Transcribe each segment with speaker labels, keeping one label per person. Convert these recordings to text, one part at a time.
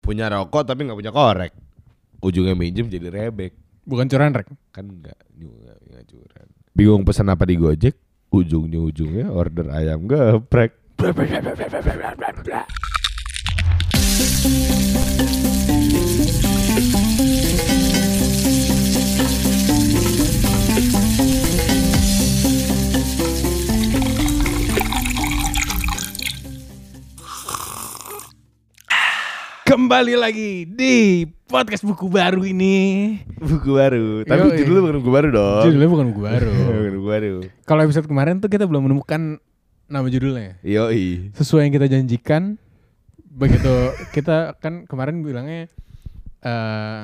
Speaker 1: punya rokok tapi nggak punya korek ujungnya minjem jadi rebek
Speaker 2: Bukan curan rek.
Speaker 1: kan nggak nggak nggak curang bingung pesan apa di Gojek ujungnya ujungnya order ayam geprek
Speaker 2: Kembali lagi di podcast buku baru ini.
Speaker 1: buku baru tapi
Speaker 2: Yoi.
Speaker 1: judulnya bukan buku baru dong
Speaker 2: Judulnya bukan buku baru.
Speaker 1: bukan buku baru
Speaker 2: Kalau episode kemarin tuh kita belum menemukan nama judulnya.
Speaker 1: yoi
Speaker 2: Sesuai yang kita janjikan. Begitu kita kan kemarin bilangnya eh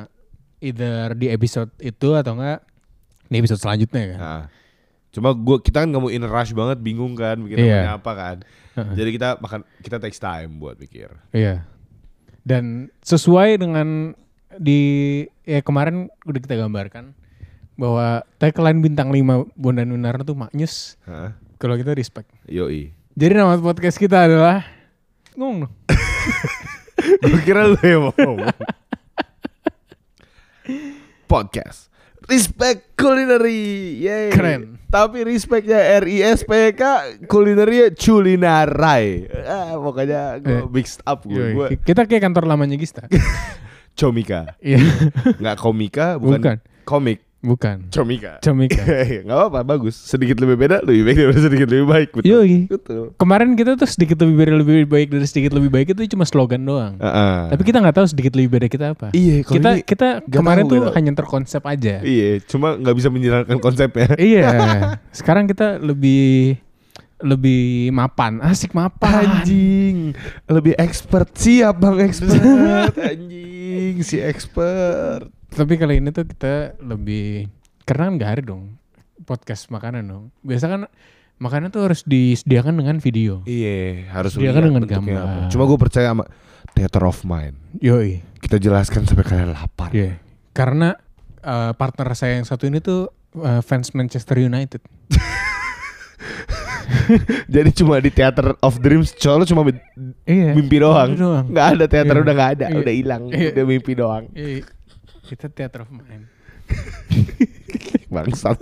Speaker 2: either di episode itu atau enggak di episode selanjutnya kan.
Speaker 1: nah, cuma gua kita kan nggak mau in rush banget bingung kan bikin
Speaker 2: Iya.
Speaker 1: namanya apa kan jadi kita makan kita takes time buat pikir
Speaker 2: Iya. Dan sesuai dengan di ya kemarin udah kita gambarkan bahwa tagline bintang 5 Bondan Winarno tuh maknyus
Speaker 1: Hah?
Speaker 2: kalau kita respect.
Speaker 1: yoi
Speaker 2: Jadi nama podcast kita adalah ngomong dong.
Speaker 1: Gue kira lu yang mau ngomong. Podcast Respect Culinary Yeay.
Speaker 2: Keren.
Speaker 1: Tapi respectnya R-I-S-P-K Culinary Culinarai ah, Pokoknya gue
Speaker 2: Eh.
Speaker 1: mixed up gue Gue
Speaker 2: Yoi. Kita kayak kantor lamanya Gista.
Speaker 1: comika
Speaker 2: Iya.
Speaker 1: Nggak komika bukan,
Speaker 2: Bukan.
Speaker 1: komik
Speaker 2: Bukan.
Speaker 1: Comika
Speaker 2: Comika.
Speaker 1: Nggak apa-apa bagus Sedikit lebih beda lebih baik daripada sedikit lebih baik Betul
Speaker 2: Yoi.
Speaker 1: Betul
Speaker 2: Kemarin kita tuh sedikit lebih beda lebih baik dari sedikit lebih baik itu cuma slogan doang.
Speaker 1: Ah-ah.
Speaker 2: Tapi kita nggak tahu sedikit lebih beda kita
Speaker 1: Ah.
Speaker 2: apa.
Speaker 1: Iya kalau
Speaker 2: kita
Speaker 1: ini
Speaker 2: kita
Speaker 1: nggak
Speaker 2: kemarin
Speaker 1: tahu,
Speaker 2: tuh
Speaker 1: nggak tahu.
Speaker 2: hanya terkonsep aja.
Speaker 1: Iya cuma nggak bisa menjalankan konsepnya
Speaker 2: Iya. Sekarang kita lebih lebih mapan, asik
Speaker 1: Ah.
Speaker 2: mapan.
Speaker 1: Anjing, lebih expert siap bang expert. Anjing, si expert.
Speaker 2: Tapi kali ini tuh kita lebih karena kan nggak hari dong podcast makanan dong. Biasa kan makanan tuh harus disediakan dengan video.
Speaker 1: Iya, harus
Speaker 2: Dia
Speaker 1: lihat
Speaker 2: kan dengan
Speaker 1: bentuknya
Speaker 2: gambar.
Speaker 1: apa. Cuma gue percaya sama theater of mind.
Speaker 2: Yoi.
Speaker 1: Kita jelaskan sampai kalian lapar.
Speaker 2: Iya. Karena eh, partner saya yang satu ini tuh eh, fans Manchester United.
Speaker 1: Jadi cuma di theater of dreams, cowok lu cuma mi-
Speaker 2: Iya.
Speaker 1: mimpi doang.
Speaker 2: Mimpi doang.
Speaker 1: Nggak ada teater
Speaker 2: Iya.
Speaker 1: udah nggak ada,
Speaker 2: Iya.
Speaker 1: udah hilang,
Speaker 2: Iya.
Speaker 1: udah mimpi doang.
Speaker 2: Iya. Kita theater of mind.
Speaker 1: Bangsat.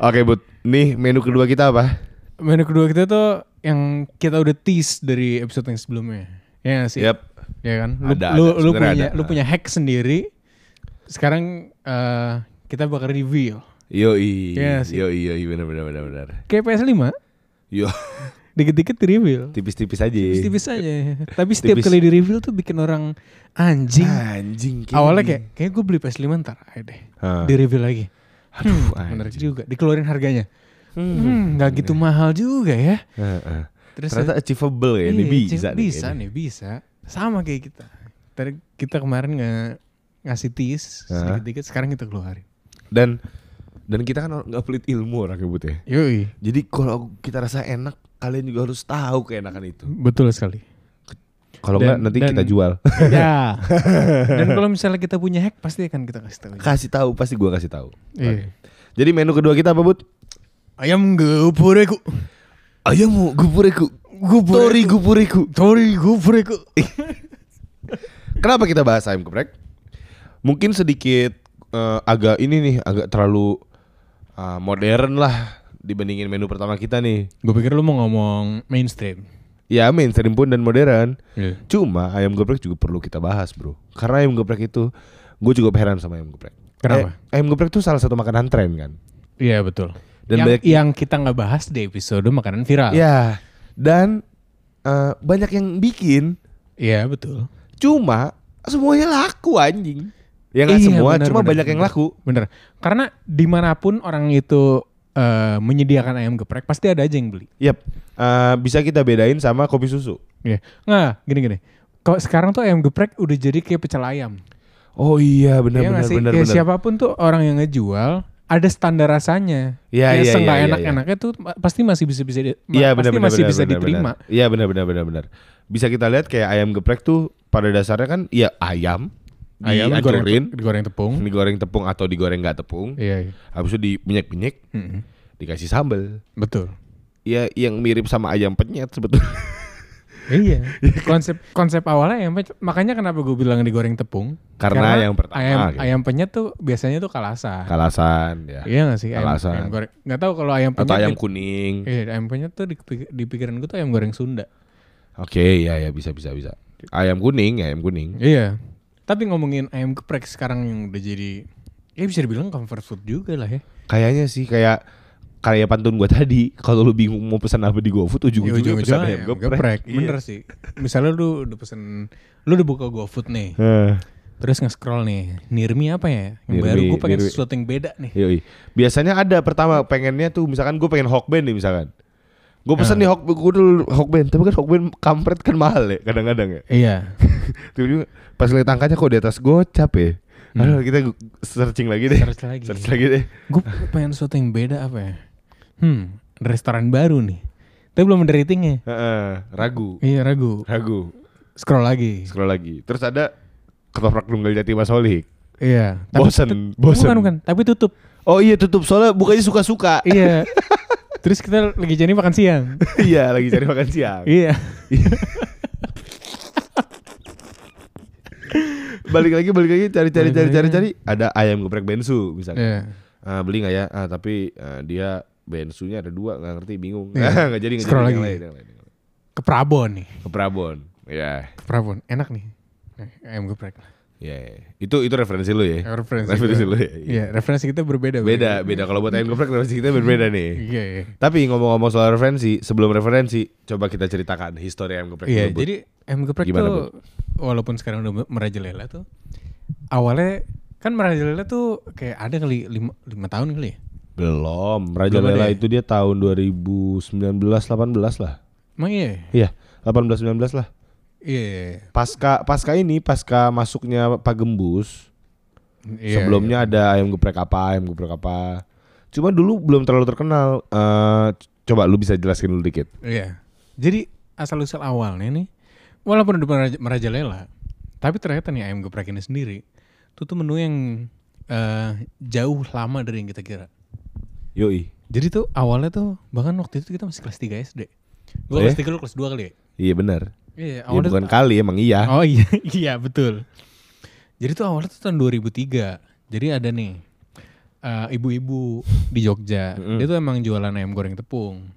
Speaker 1: Oke, Bud. Nih menu kedua kita apa?
Speaker 2: Menu kedua kita tuh yang kita udah tease dari episode yang sebelumnya. Ya nggak sih?
Speaker 1: Yap.
Speaker 2: Ya kan? Lu,
Speaker 1: Ada, ada.
Speaker 2: lu, lu
Speaker 1: Sebenarnya
Speaker 2: punya
Speaker 1: ada.
Speaker 2: lu punya hack sendiri. Sekarang eh, kita bakal reveal.
Speaker 1: Yoi.
Speaker 2: Iya sih.
Speaker 1: Yoi, yoi, benar benar benar benar.
Speaker 2: Kayak PS5,
Speaker 1: Yo,
Speaker 2: dikit-dikit di reveal.
Speaker 1: tipis-tipis aja.
Speaker 2: Tipis-tipis aja. Tapi setiap
Speaker 1: Tipis.
Speaker 2: kali di reveal tuh bikin orang anjing.
Speaker 1: Ah, Anjing. kayak
Speaker 2: Awalnya
Speaker 1: gini.
Speaker 2: kayak kayak gue beli PS5 ntar aja deh.
Speaker 1: Ah.
Speaker 2: Di reveal lagi.
Speaker 1: aduh, anjing.
Speaker 2: Bener juga. Dikeluarin harganya. Hmm, nggak gitu mahal juga ya.
Speaker 1: Heeh.
Speaker 2: Terus
Speaker 1: Ternyata achievable ya, ini
Speaker 2: Iya,
Speaker 1: bisa.
Speaker 2: cewek
Speaker 1: nih
Speaker 2: bisa
Speaker 1: kayaknya.
Speaker 2: nih, bisa. Sama kayak kita. Tadi kita kemarin nge ngasih tease
Speaker 1: Hah?
Speaker 2: sedikit-sedikit, sekarang kita keluarin.
Speaker 1: Dan dan kita kan orang- nggak pelit ilmu orang kebut ya.
Speaker 2: Yoi,
Speaker 1: Jadi kalau kita rasa enak, kalian juga harus tahu keenakan itu.
Speaker 2: betul sekali.
Speaker 1: Kalau nggak
Speaker 2: Dan-
Speaker 1: nanti
Speaker 2: dan-
Speaker 1: kita jual.
Speaker 2: ya. Dan kalau misalnya kita punya hack pasti akan kita kasih tahu.
Speaker 1: kasih tahu, pasti gua kasih tahu.
Speaker 2: Iya.
Speaker 1: Jadi menu kedua kita apa, Bud?
Speaker 2: Ayam ya, gupureku.
Speaker 1: Ayamu gupureku. Tori gupureku.
Speaker 2: Tori gupureku.
Speaker 1: Kenapa kita bahas ayam geprek? Mungkin sedikit eh, agak ini nih agak terlalu eh, modern lah dibandingin menu pertama kita nih.
Speaker 2: Gue pikir lu mau ngomong mainstream.
Speaker 1: Ya mainstream pun dan modern.
Speaker 2: Iya.
Speaker 1: Cuma ayam geprek juga perlu kita bahas bro. Karena ayam geprek itu gue juga heran sama ayam geprek.
Speaker 2: Kenapa?
Speaker 1: Eh, ayam geprek itu salah satu makanan tren kan.
Speaker 2: Iya, betul.
Speaker 1: Dan
Speaker 2: yang,
Speaker 1: banyak-
Speaker 2: yang kita nggak bahas di episode makanan viral. Iya,
Speaker 1: Ya. Dan eh, banyak yang bikin.
Speaker 2: Iya, betul.
Speaker 1: Cuma semuanya laku anjing. Ya nggak
Speaker 2: Iya,
Speaker 1: semua,
Speaker 2: benar,
Speaker 1: cuma
Speaker 2: benar,
Speaker 1: banyak yang
Speaker 2: benar.
Speaker 1: laku.
Speaker 2: Bener. Karena dimanapun orang itu eh, menyediakan ayam geprek, pasti ada aja yang beli.
Speaker 1: Yap. Eh, bisa kita bedain sama kopi susu.
Speaker 2: Iya. Nggak, gini-gini. Kalau sekarang tuh ayam geprek udah jadi kayak pecel ayam.
Speaker 1: Oh iya
Speaker 2: Iya
Speaker 1: benar-benar
Speaker 2: nggak sih?
Speaker 1: benar
Speaker 2: Kayak
Speaker 1: benar.
Speaker 2: siapapun tuh orang yang ngejual, ada standar rasanya.
Speaker 1: Iya,
Speaker 2: Kayak
Speaker 1: iya,
Speaker 2: seenggak
Speaker 1: iya, iya,
Speaker 2: enak-enaknya tuh ma- pasti masih bisa bisa di, ma-
Speaker 1: Iya
Speaker 2: pasti
Speaker 1: benar-benar
Speaker 2: masih
Speaker 1: benar,
Speaker 2: bisa
Speaker 1: benar,
Speaker 2: diterima.
Speaker 1: benar. Iya benar-benar benar-benar. Bisa kita lihat kayak ayam geprek tuh pada dasarnya kan ya ayam, ayam
Speaker 2: digoreng,
Speaker 1: dihancurin,
Speaker 2: digoreng tepung.
Speaker 1: digoreng tepung atau digoreng nggak tepung.
Speaker 2: Iya, iya.
Speaker 1: Habis itu diminyak-minyak,
Speaker 2: Mm-mm.
Speaker 1: dikasih sambal.
Speaker 2: betul.
Speaker 1: Ya yang mirip sama ayam penyet sebetulnya.
Speaker 2: iya. Konsep konsep awalnya ayam penyet. Makanya kenapa gue bilang digoreng tepung?
Speaker 1: Karena yang pertama
Speaker 2: ayam
Speaker 1: gitu.
Speaker 2: ayam penyet tuh biasanya tuh kalasa.
Speaker 1: Kalasan ya.
Speaker 2: Iya gak sih? Ayam,
Speaker 1: Kalasa.
Speaker 2: ayam goreng. Gak tau kalau ayam penyet.
Speaker 1: Atau ayam
Speaker 2: di-
Speaker 1: kuning.
Speaker 2: Iya, ayam penyet tuh di, pik- di pikiran gue tuh ayam goreng Sunda.
Speaker 1: Oke, iya ya bisa bisa bisa. Ayam kuning, ayam kuning.
Speaker 2: Iya. Tapi ngomongin ayam geprek sekarang yang udah jadi ya bisa dibilang comfort food juga lah ya.
Speaker 1: Kayaknya sih kayak karya pantun gua tadi, kalau lu bingung mau pesan apa di GoFood
Speaker 2: Ya,
Speaker 1: ujung-ujungnya pesan
Speaker 2: ujung-ujungnya
Speaker 1: ayam geprek. Iya.
Speaker 2: Bener sih. Misalnya lu udah pesen lu udah buka GoFood nih.
Speaker 1: Heeh.
Speaker 2: Terus nge-scroll nih. Nirmi apa ya? Yang
Speaker 1: Nirmi,
Speaker 2: baru gue pengen
Speaker 1: nirmi. Iya.
Speaker 2: sesuatu yang beda nih.
Speaker 1: Yoi. Biasanya ada pertama pengennya tuh misalkan gue pengen Hokben nih misalkan. Gue pesen
Speaker 2: Ah.
Speaker 1: nih Hok gue dulu Hokben, tapi kan Hokben kampret kan mahal ya kadang-kadang ya.
Speaker 2: Iya.
Speaker 1: Tiba-tiba pas lihat angkanya kok di atas gocap ya. Aduh kita gu- searching lagi deh.
Speaker 2: Hmm. Search lagi.
Speaker 1: Search lagi deh.
Speaker 2: Gue pengen sesuatu yang beda apa ya? Hmm, restoran baru nih. Tapi belum ada ratingnya.
Speaker 1: Heeh, ragu.
Speaker 2: Iya, ragu.
Speaker 1: Ragu.
Speaker 2: Scroll lagi.
Speaker 1: Scroll lagi. Terus ada ketoprak nunggal jati Mas Holik.
Speaker 2: Iya.
Speaker 1: Bosen, bosen.
Speaker 2: Bukan, bukan. Tapi tutup.
Speaker 1: Oh iya tutup soalnya bukanya suka-suka.
Speaker 2: Iya. Terus kita lagi jadi makan siang.
Speaker 1: iya, lagi cari makan siang.
Speaker 2: Iya.
Speaker 1: balik lagi, balik lagi cari cari
Speaker 2: Balik
Speaker 1: cari
Speaker 2: lagi.
Speaker 1: cari cari ada ayam geprek bensu misalnya.
Speaker 2: Iya.
Speaker 1: Ah, beli nggak ya? Ah, tapi ah, dia bensunya ada dua nggak ngerti bingung.
Speaker 2: Iya.
Speaker 1: Nggak jadi nggak jadi.
Speaker 2: Scroll
Speaker 1: Yang
Speaker 2: lagi.
Speaker 1: lain, yang lain, yang lain.
Speaker 2: Ke Prabon nih.
Speaker 1: Ke Prabon. Ya.
Speaker 2: Ke Prabon. Enak nih. Nah, Ayam geprek.
Speaker 1: Ya. ya. Itu itu referensi lu ya.
Speaker 2: Referensi.
Speaker 1: Referensi
Speaker 2: kita-
Speaker 1: lu ya.
Speaker 2: Iya, referensi kita berbeda.
Speaker 1: Beda beda kalau buat ayam geprek referensi kita berbeda nih.
Speaker 2: Iya, iya.
Speaker 1: Tapi ngomong-ngomong soal referensi, sebelum referensi, coba kita ceritakan histori ayam geprek
Speaker 2: Iya,
Speaker 1: dulu, Bu.
Speaker 2: jadi ayam geprek
Speaker 1: Gimana,
Speaker 2: tuh walaupun sekarang udah merajalela tuh awalnya kan merajalela tuh kayak ada kali lima, lima tahun kali ya.
Speaker 1: belum.
Speaker 2: Belum ada
Speaker 1: Rajalela
Speaker 2: ya?
Speaker 1: itu dia tahun 2019 18 lah.
Speaker 2: Emang iya. ya?
Speaker 1: Iya, 18 19 lah.
Speaker 2: Iya.
Speaker 1: Pasca pasca ini pasca masuknya Pak Gembus.
Speaker 2: iya,
Speaker 1: sebelumnya ada ayam geprek apa, ayam geprek apa. Cuma dulu belum terlalu terkenal. Eh, c- coba lu bisa jelasin dulu dikit.
Speaker 2: Iya. Jadi asal usul awalnya nih walaupun udah meraja- merajalela tapi ternyata nih ayam geprek ini sendiri itu tuh menu yang eh, jauh lama dari yang kita kira.
Speaker 1: Yoi.
Speaker 2: Jadi tuh awalnya tuh bahkan waktu itu kita masih kelas 3 SD. Gue
Speaker 1: Oh
Speaker 2: kelas
Speaker 1: ya?
Speaker 2: 3 lu kelas 2 kali ya?
Speaker 1: Iya benar.
Speaker 2: Iya,
Speaker 1: Ya,
Speaker 2: awalnya
Speaker 1: bukan kali emang iya.
Speaker 2: Oh iya, iya betul. Jadi tuh awalnya tuh tahun 2003. Jadi ada nih eh, ibu-ibu di Jogja. Dia tuh emang jualan ayam goreng tepung.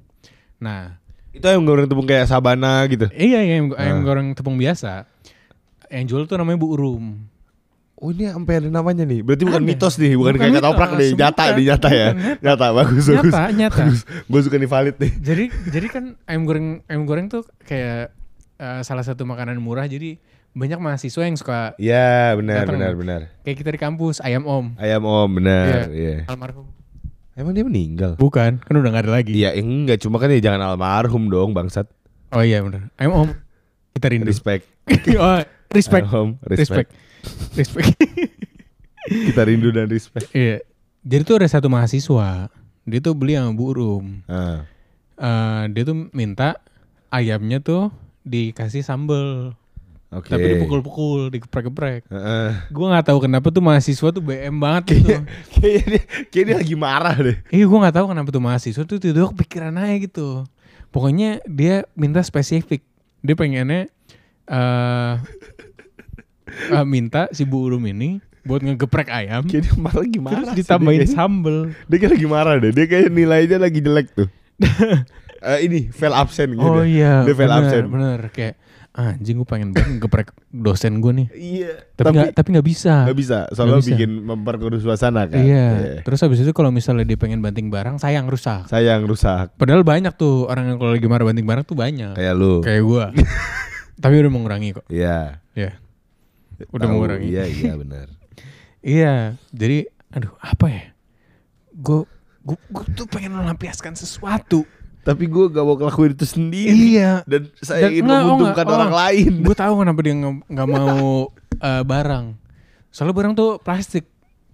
Speaker 2: Nah,
Speaker 1: Itu ayam goreng tepung kayak sabana gitu.
Speaker 2: iya ayam, ayam goreng tepung biasa. Yang jual tuh namanya Bu Urum.
Speaker 1: Oh ini sampai ada namanya nih. Berarti bukan
Speaker 2: Ada.
Speaker 1: mitos nih, bukan,
Speaker 2: Bukan
Speaker 1: kayak
Speaker 2: mitos,
Speaker 1: ketoprak nih, nyata
Speaker 2: bukan.
Speaker 1: nih, nyata ya.
Speaker 2: Bukan,
Speaker 1: Nyata bagus bagus.
Speaker 2: Nyata, nyata.
Speaker 1: Gue suka nih valid nih.
Speaker 2: jadi jadi kan ayam goreng ayam goreng tuh kayak eh, salah satu makanan murah. Jadi banyak mahasiswa yang suka
Speaker 1: Iya, benar
Speaker 2: Datang.
Speaker 1: benar benar.
Speaker 2: kayak kita di kampus ayam om.
Speaker 1: Ayam Om benar, iya.
Speaker 2: Almarhum.
Speaker 1: Emang dia meninggal?
Speaker 2: Bukan, kan udah gak ada lagi.
Speaker 1: Iya, eh, enggak cuma kan ya jangan almarhum dong bangsat.
Speaker 2: Oh iya benar. Ayam om. Kita rindu.
Speaker 1: Respect.
Speaker 2: oh, respect.
Speaker 1: Almarhum, respect.
Speaker 2: respect. Respect.
Speaker 1: Kita rindu dan respect.
Speaker 2: Iya. Jadi tuh ada satu mahasiswa, dia tuh beli sama Bu Rum.
Speaker 1: Ah.
Speaker 2: Eh, dia tuh minta ayamnya tuh dikasih sambel,
Speaker 1: Oke.
Speaker 2: tapi dipukul-pukul, dikeprek-keprek.
Speaker 1: Heeh.
Speaker 2: Gue nggak tahu kenapa tuh mahasiswa tuh BM banget
Speaker 1: Iya.
Speaker 2: gitu.
Speaker 1: kayaknya dia, kayaknya dia lagi marah deh.
Speaker 2: Iya, gue nggak tahu kenapa tuh mahasiswa tuh tiba-tiba kepikiran aja gitu. Pokoknya dia minta spesifik. Dia pengennya eh eh, minta si Bu Urum ini buat ngegeprek ayam.
Speaker 1: Kayaknya dia marah lagi marah.
Speaker 2: Terus
Speaker 1: sih
Speaker 2: ditambahin
Speaker 1: dia kayaknya.
Speaker 2: sambel.
Speaker 1: Dia kayak lagi marah deh. Dia kayak nilainya lagi jelek tuh. Eh, ini fail absen gitu.
Speaker 2: Oh iya,
Speaker 1: Dia fail absen.
Speaker 2: bener, bener. Kayak "Ah, anjing gue pengen banget ngegeprek dosen gue nih.
Speaker 1: Iya.
Speaker 2: Tapi
Speaker 1: Tapi
Speaker 2: nggak tapi nggak bisa.
Speaker 1: nggak bisa. Soalnya
Speaker 2: Nggak bisa.
Speaker 1: bikin memperkeruh suasana kan.
Speaker 2: Iya.
Speaker 1: Iya.
Speaker 2: Terus habis itu kalau misalnya dia pengen banting barang, sayang rusak.
Speaker 1: Sayang rusak
Speaker 2: Padahal banyak tuh orang yang kalau lagi marah banting barang tuh banyak.
Speaker 1: kayak lu.
Speaker 2: Kayak gue. tapi udah mengurangi kok.
Speaker 1: Iya.
Speaker 2: Ya. Udah
Speaker 1: Tahu,
Speaker 2: mengurangi.
Speaker 1: Iya, iya benar.
Speaker 2: Iya, jadi aduh apa ya? Gue gue tuh pengen melampiaskan sesuatu.
Speaker 1: Tapi gue gak mau ngelakuin itu sendiri.
Speaker 2: Iya.
Speaker 1: Dan saya ingin menguntungkan orang lain.
Speaker 2: Gue oh. tahu kenapa dia nge- nggak mau eh, barang. Soalnya barang tuh plastik,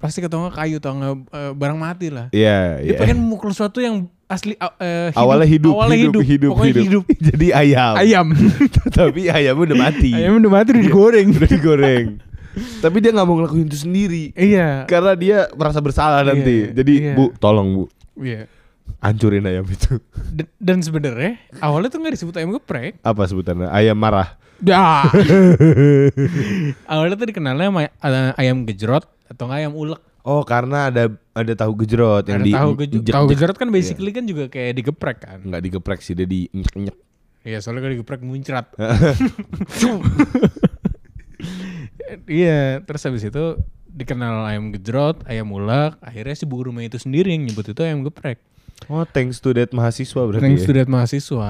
Speaker 2: plastik atau nggak kayu atau nggak eh, barang mati lah.
Speaker 1: Iya,
Speaker 2: Dia
Speaker 1: iya.
Speaker 2: pengen mukul sesuatu yang asli eh,
Speaker 1: Awalnya hidup,
Speaker 2: awalnya hidup,
Speaker 1: hidup,
Speaker 2: pokoknya hidup.
Speaker 1: Jadi ayam.
Speaker 2: Ayam,
Speaker 1: Tapi ayamnya udah mati.
Speaker 2: ayam udah mati Iya, udah digoreng.
Speaker 1: udah digoreng. Tapi dia nggak mau ngelakuin itu sendiri
Speaker 2: Iya,
Speaker 1: karena dia merasa bersalah nanti.
Speaker 2: Iya,
Speaker 1: Jadi
Speaker 2: iya.
Speaker 1: bu, tolong bu,
Speaker 2: iya.
Speaker 1: Ancurin ayam itu.
Speaker 2: D- dan sebenarnya awalnya tuh nggak disebut ayam geprek
Speaker 1: Apa sebutannya? Ayam marah.
Speaker 2: Dah. awalnya tuh dikenalnya sama ay- ayam gejrot atau nggak ayam ulek
Speaker 1: Oh, karena ada ada tahu gejrot yang
Speaker 2: Ada
Speaker 1: di Iya.
Speaker 2: tahu gejo- tahu
Speaker 1: jek- jek-
Speaker 2: gejrot kan basically kan juga kayak digeprek kan
Speaker 1: nggak digeprek sih dia di nyek nyek.
Speaker 2: Iya soalnya kalau digeprek muncrat. Iya terus habis itu dikenal ayam gejrot, ayam ulak, akhirnya si bu rumah itu sendiri yang nyebut itu ayam geprek.
Speaker 1: Oh, thanks to that mahasiswa berarti.
Speaker 2: Yang
Speaker 1: ya? Iya.
Speaker 2: student mahasiswa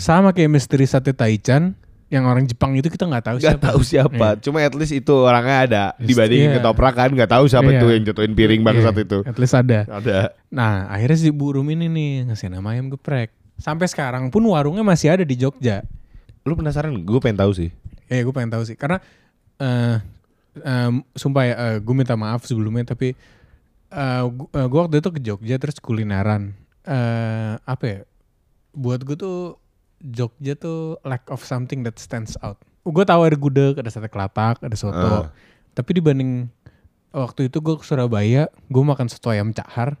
Speaker 2: sama kayak misteri sate taichan yang orang Jepang itu kita nggak tahu
Speaker 1: nggak
Speaker 2: siapa. Iya.
Speaker 1: tahu siapa. Cuma at least itu orangnya ada.
Speaker 2: Yes,
Speaker 1: Dibandingin
Speaker 2: iya.
Speaker 1: ketoprak kan nggak tahu siapa
Speaker 2: Iya.
Speaker 1: tuh yang jatuhin piring bangsat
Speaker 2: Iya,
Speaker 1: itu.
Speaker 2: At least ada.
Speaker 1: Ada.
Speaker 2: Nah akhirnya si bu Rum ini nih ngasih nama ayam geprek. Sampai sekarang pun warungnya masih ada di Jogja.
Speaker 1: Lu penasaran? Gue pengen tahu sih.
Speaker 2: Ya gue pengen tahu sih karena eh em, sumpah ya gue minta maaf sebelumnya tapi eh, gue waktu itu ke Jogja terus kulineran eh apa ya buat gue tuh Jogja tuh lack of something that stands out. Gue tahu ada gudeg, ada sate kelatak, ada
Speaker 1: Ah.
Speaker 2: soto. Tapi dibanding waktu itu gue ke Surabaya, gue makan soto ayam cahar.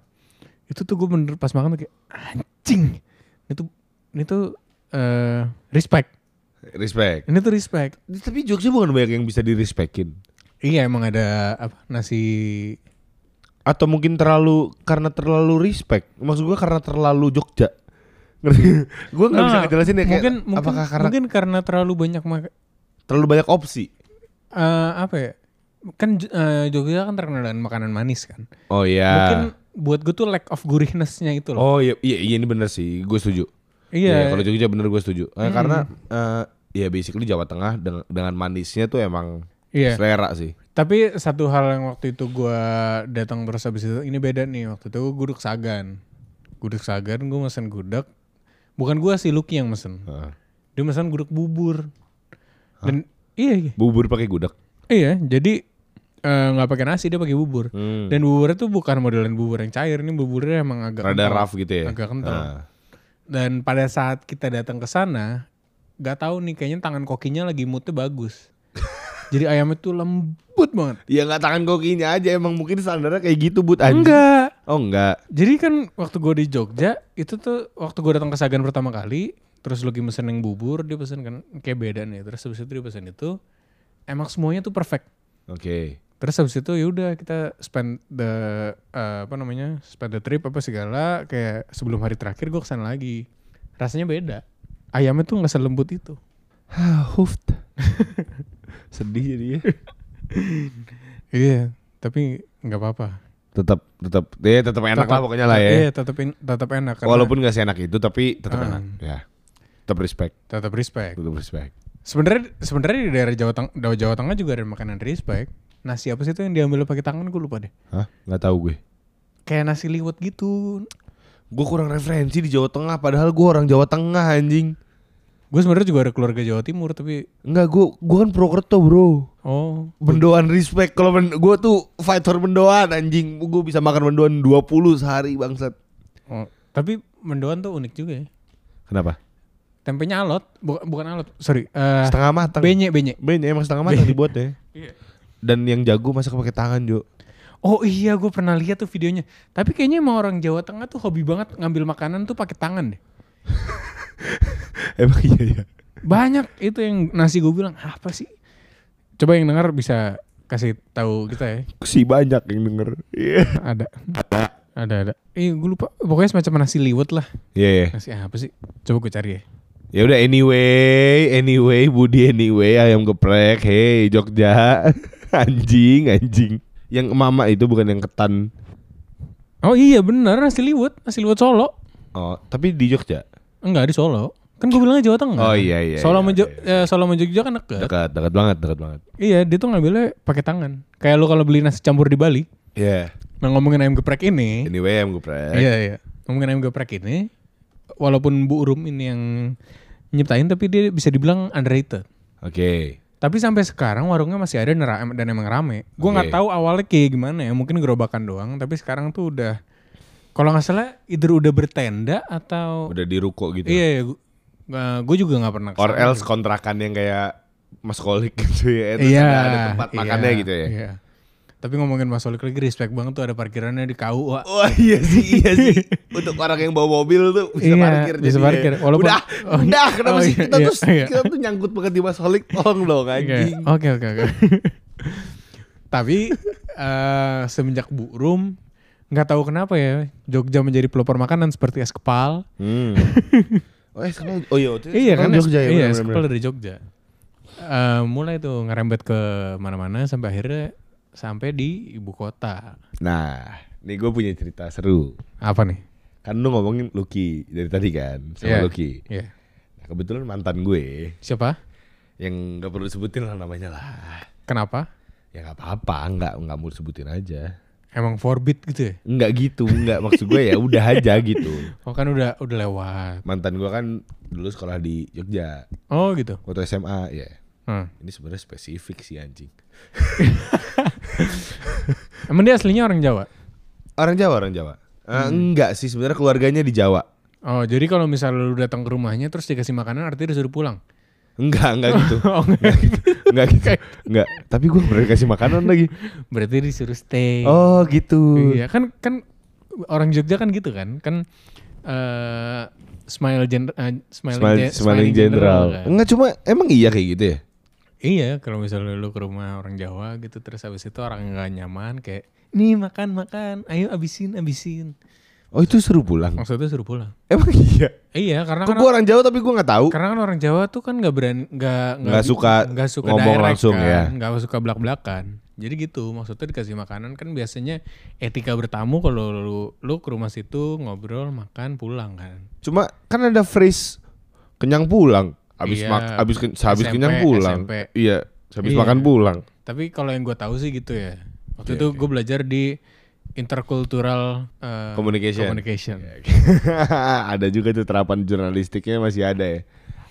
Speaker 2: Itu tuh gue bener pas makan tuh kayak anjing. Ini tuh ini tuh eh, respect.
Speaker 1: Respect.
Speaker 2: Ini tuh respect.
Speaker 1: Tapi Jogja bukan banyak yang bisa direspekin.
Speaker 2: Iya emang ada apa nasi
Speaker 1: Atau mungkin terlalu karena terlalu respect. Maksud gue karena terlalu Jogja. Ngerti? gue nggak bisa
Speaker 2: Nah,
Speaker 1: ngejelasin ya kayak
Speaker 2: mungkin mungkin
Speaker 1: apakah karena
Speaker 2: mungkin karena terlalu banyak maka-
Speaker 1: terlalu banyak opsi.
Speaker 2: eh, apa ya kan J- eh, Jogja kan terkenal dengan makanan manis kan
Speaker 1: Oh iya.
Speaker 2: mungkin buat gue tuh lack of gurihnesnya itu loh
Speaker 1: Oh iya, iya, iya ini bener sih, gue setuju. Iya,
Speaker 2: iya Hmm.
Speaker 1: kalau Jogja bener gue setuju. Eh, Karena eh, ya basically Jawa Tengah dengan, dengan manisnya tuh emang
Speaker 2: iya
Speaker 1: selera sih.
Speaker 2: tapi satu hal yang waktu itu gue datang terus habis itu ini beda nih waktu itu gue gudeg sagan gudeg sagan gue mesen gudeg bukan gue sih Lucky yang mesen
Speaker 1: Heeh.
Speaker 2: dia mesen gudeg bubur dan iya iya
Speaker 1: Bubur pakai gudeg.
Speaker 2: iya jadi eh, nggak pakai nasi dia pakai bubur
Speaker 1: Hmm.
Speaker 2: Dan buburnya tuh bukan modelan bubur yang cair, ini buburnya emang agak
Speaker 1: Rada
Speaker 2: kental.
Speaker 1: rough gitu ya.
Speaker 2: Agak kental.
Speaker 1: Nah.
Speaker 2: Dan pada saat kita datang ke sana, nggak tahu nih kayaknya tangan kokinya lagi moodnya bagus. Jadi ayamnya tuh lembut banget.
Speaker 1: Ya nggak tangan kokinya aja emang mungkin standarnya kayak gitu but anjing.
Speaker 2: Enggak.
Speaker 1: Oh enggak.
Speaker 2: Jadi kan waktu gue di Jogja, itu tuh waktu gue datang ke Sagan pertama kali, terus Lucky mesen yang bubur, dia pesen kan kayak beda nih. Terus habis itu dia pesen itu, emang semuanya tuh perfect.
Speaker 1: Oke.
Speaker 2: Terus habis itu yaudah kita spend the eh, apa namanya spend the trip apa segala kayak sebelum hari terakhir gue kesana lagi rasanya beda ayamnya tuh nggak selembut itu
Speaker 1: Huft. Sedih jadi ya.
Speaker 2: iya tapi nggak apa-apa
Speaker 1: Tetap tetap ya tetap enak
Speaker 2: Tetap-
Speaker 1: lah pokoknya lah ya.
Speaker 2: iya tetap in- tetap enak karena
Speaker 1: Walaupun nggak seenak itu tapi tetap
Speaker 2: Ah.
Speaker 1: enak ya. Tetap respect,
Speaker 2: tetap respect
Speaker 1: tetap respect.
Speaker 2: sebenarnya sebenarnya di daerah Jawa Tengah Jawa, Jawa Tengah juga ada makanan respect nasi apa sih itu yang diambil pakai tangan gue lupa deh
Speaker 1: Hah? Nggak tahu gue.
Speaker 2: kayak nasi liwet gitu
Speaker 1: Gue kurang referensi di Jawa Tengah padahal gue orang Jawa Tengah anjing.
Speaker 2: gue sebenarnya juga ada keluarga Jawa Timur tapi
Speaker 1: Enggak, gue gue kan Prokerto, Bro.
Speaker 2: oh
Speaker 1: Bendoan respect kalau ben, gue tuh fight for bendoan anjing. Gue bisa makan bendoan 20 sehari bangsat.
Speaker 2: oh. tapi mendoan tuh unik juga ya
Speaker 1: Kenapa?
Speaker 2: Tempenya alot, bukan bukan alot, sorry. eh
Speaker 1: Setengah matang.
Speaker 2: benye, benye.
Speaker 1: Ben emang setengah matang dibuatnya.
Speaker 2: Iya.
Speaker 1: Dan yang jago masak pakai tangan, Jo.
Speaker 2: Oh iya, gue pernah lihat tuh videonya. Tapi kayaknya emang orang Jawa Tengah tuh hobi banget ngambil makanan tuh pakai tangan deh.
Speaker 1: Emang iya ya.
Speaker 2: Banyak itu yang nasi gue bilang "Ah, apa sih? Coba yang dengar bisa kasih tahu kita ya.
Speaker 1: Si banyak yang denger. Iya.
Speaker 2: Ada, ada, ada. Eh, gue lupa. Pokoknya semacam nasi liwet lah.
Speaker 1: Iya. iya.
Speaker 2: Nasi apa sih? Coba gue cari ya.
Speaker 1: Ya udah anyway, anyway Budi anyway ayam geprek. Hey Jogja. anjing, anjing. Yang mama itu bukan yang ketan.
Speaker 2: Oh iya benar nasi liwet, nasi liwet Solo.
Speaker 1: Oh, tapi di Jogja.
Speaker 2: Enggak di Solo. Kan gue bilangnya Jawa Tengah.
Speaker 1: Oh, iya, iya, iya,
Speaker 2: Solo sama Jo- eh, Solo sama Jogja kan dekat.
Speaker 1: Dekat, dekat banget, dekat banget.
Speaker 2: Iya, dia tuh ngambilnya pakai tangan. Kayak lu kalau beli nasi campur di Bali,
Speaker 1: Iya.
Speaker 2: nah ngomongin ayam geprek ini.
Speaker 1: Anyway ayam geprek.
Speaker 2: Iya, iya. Ngomongin ayam geprek ini, walaupun Bu Urum ini yang nyiptain tapi dia bisa dibilang underrated.
Speaker 1: Oke.
Speaker 2: Tapi sampai sekarang warungnya masih ada nera- em- dan emang rame. Gua nggak
Speaker 1: Oke.
Speaker 2: tahu awalnya kayak gimana ya, mungkin gerobakan doang, tapi sekarang tuh udah kalau nggak salah either udah bertenda atau
Speaker 1: Udah di ruko gitu.
Speaker 2: iya, iya gue juga nggak pernah
Speaker 1: Or
Speaker 2: kesana.
Speaker 1: else kontrakan yang kayak Mas Kolik gitu ya. Terus
Speaker 2: Iya,
Speaker 1: ada, ada tempat
Speaker 2: iya,
Speaker 1: makannya gitu ya.
Speaker 2: iya. Tapi ngomongin masalah lagi respect banget tuh ada parkirannya di KUA.
Speaker 1: Wah iya sih iya sih untuk orang yang bawa mobil tuh bisa
Speaker 2: Iya,
Speaker 1: parkir
Speaker 2: bisa
Speaker 1: jadinya.
Speaker 2: parkir. Walaupun-
Speaker 1: udah
Speaker 2: Oh, iya.
Speaker 1: udah kenapa
Speaker 2: Oh,
Speaker 1: sih
Speaker 2: iya,
Speaker 1: kita
Speaker 2: iya,
Speaker 1: tuh
Speaker 2: iya.
Speaker 1: kita tuh nyangkut banget di Mas Holik tolong dong anjing
Speaker 2: Oke, Oke oke oke. Tapi eh, semenjak Bu Rum nggak tahu kenapa ya Jogja menjadi pelopor makanan seperti es kepal.
Speaker 1: Hmm. oh es kepala oh iya waktu itu
Speaker 2: Iya
Speaker 1: es kepala
Speaker 2: kan
Speaker 1: Jogja ya
Speaker 2: Iya,
Speaker 1: benar-benar.
Speaker 2: es kepal dari Jogja. Eh, mulai tuh ngerembet ke mana-mana sampai akhirnya sampai di ibu kota.
Speaker 1: nah nih gue punya cerita seru
Speaker 2: Apa nih?
Speaker 1: kan lu ngomongin Lucky dari tadi kan sama
Speaker 2: Iya.
Speaker 1: Lucky
Speaker 2: Iya.
Speaker 1: Nah, kebetulan mantan gue
Speaker 2: Siapa?
Speaker 1: yang nggak perlu sebutin lah namanya lah
Speaker 2: Kenapa?
Speaker 1: ya nggak apa-apa nggak nggak mau disebutin aja
Speaker 2: Emang forbid gitu ya?
Speaker 1: nggak gitu nggak maksud gue ya udah aja gitu
Speaker 2: Oh kan udah udah lewat.
Speaker 1: mantan gue kan dulu sekolah di Jogja
Speaker 2: Oh gitu.
Speaker 1: waktu SMA ya
Speaker 2: Hmm.
Speaker 1: ini sebenarnya spesifik sih anjing
Speaker 2: Emang dia aslinya orang Jawa?
Speaker 1: orang Jawa orang Jawa Eh, enggak sih sebenarnya keluarganya di Jawa
Speaker 2: Oh, jadi kalau misalnya lu datang ke rumahnya terus dikasih makanan artinya disuruh pulang.
Speaker 1: enggak enggak gitu
Speaker 2: Oh, enggak.
Speaker 1: enggak gitu enggak tapi gue pernah kasih makanan lagi
Speaker 2: Berarti disuruh stay.
Speaker 1: oh gitu
Speaker 2: Iya, kan kan orang Jogja kan gitu kan? Kan eh smile gen eh, smile,
Speaker 1: Smile,
Speaker 2: gen-
Speaker 1: smiling
Speaker 2: smiling general
Speaker 1: general.
Speaker 2: kan.
Speaker 1: Enggak cuma emang iya kayak gitu ya.
Speaker 2: Iya, kalau misalnya lu ke rumah orang Jawa gitu terus habis itu orang nggak nyaman kayak nih makan makan, ayo abisin abisin.
Speaker 1: Oh itu seru pulang.
Speaker 2: Maksudnya suruh pulang.
Speaker 1: Emang iya.
Speaker 2: Iya, karena
Speaker 1: Kok
Speaker 2: kan
Speaker 1: gue orang Jawa tapi gue nggak tahu.
Speaker 2: Karena kan orang Jawa tuh kan nggak berani, nggak
Speaker 1: Nggak suka
Speaker 2: nggak suka
Speaker 1: ngomong
Speaker 2: direct
Speaker 1: langsung
Speaker 2: kan,
Speaker 1: ya.
Speaker 2: nggak suka belak belakan. Jadi gitu maksudnya dikasih makanan kan biasanya etika bertamu kalau lu lu ke rumah situ ngobrol makan pulang kan.
Speaker 1: Cuma kan ada phrase kenyang pulang. Habis
Speaker 2: Iya.
Speaker 1: mak habis ken- habis
Speaker 2: SMP,
Speaker 1: kenyang pulang.
Speaker 2: SMP.
Speaker 1: Iya, habis
Speaker 2: Iya.
Speaker 1: makan pulang.
Speaker 2: Tapi kalau yang gue tahu sih gitu
Speaker 1: Iya,
Speaker 2: ya. Waktu itu gue belajar di intercultural eh,
Speaker 1: Communication. Iya,
Speaker 2: communication.
Speaker 1: ada juga tuh terapan jurnalistiknya masih ada ya.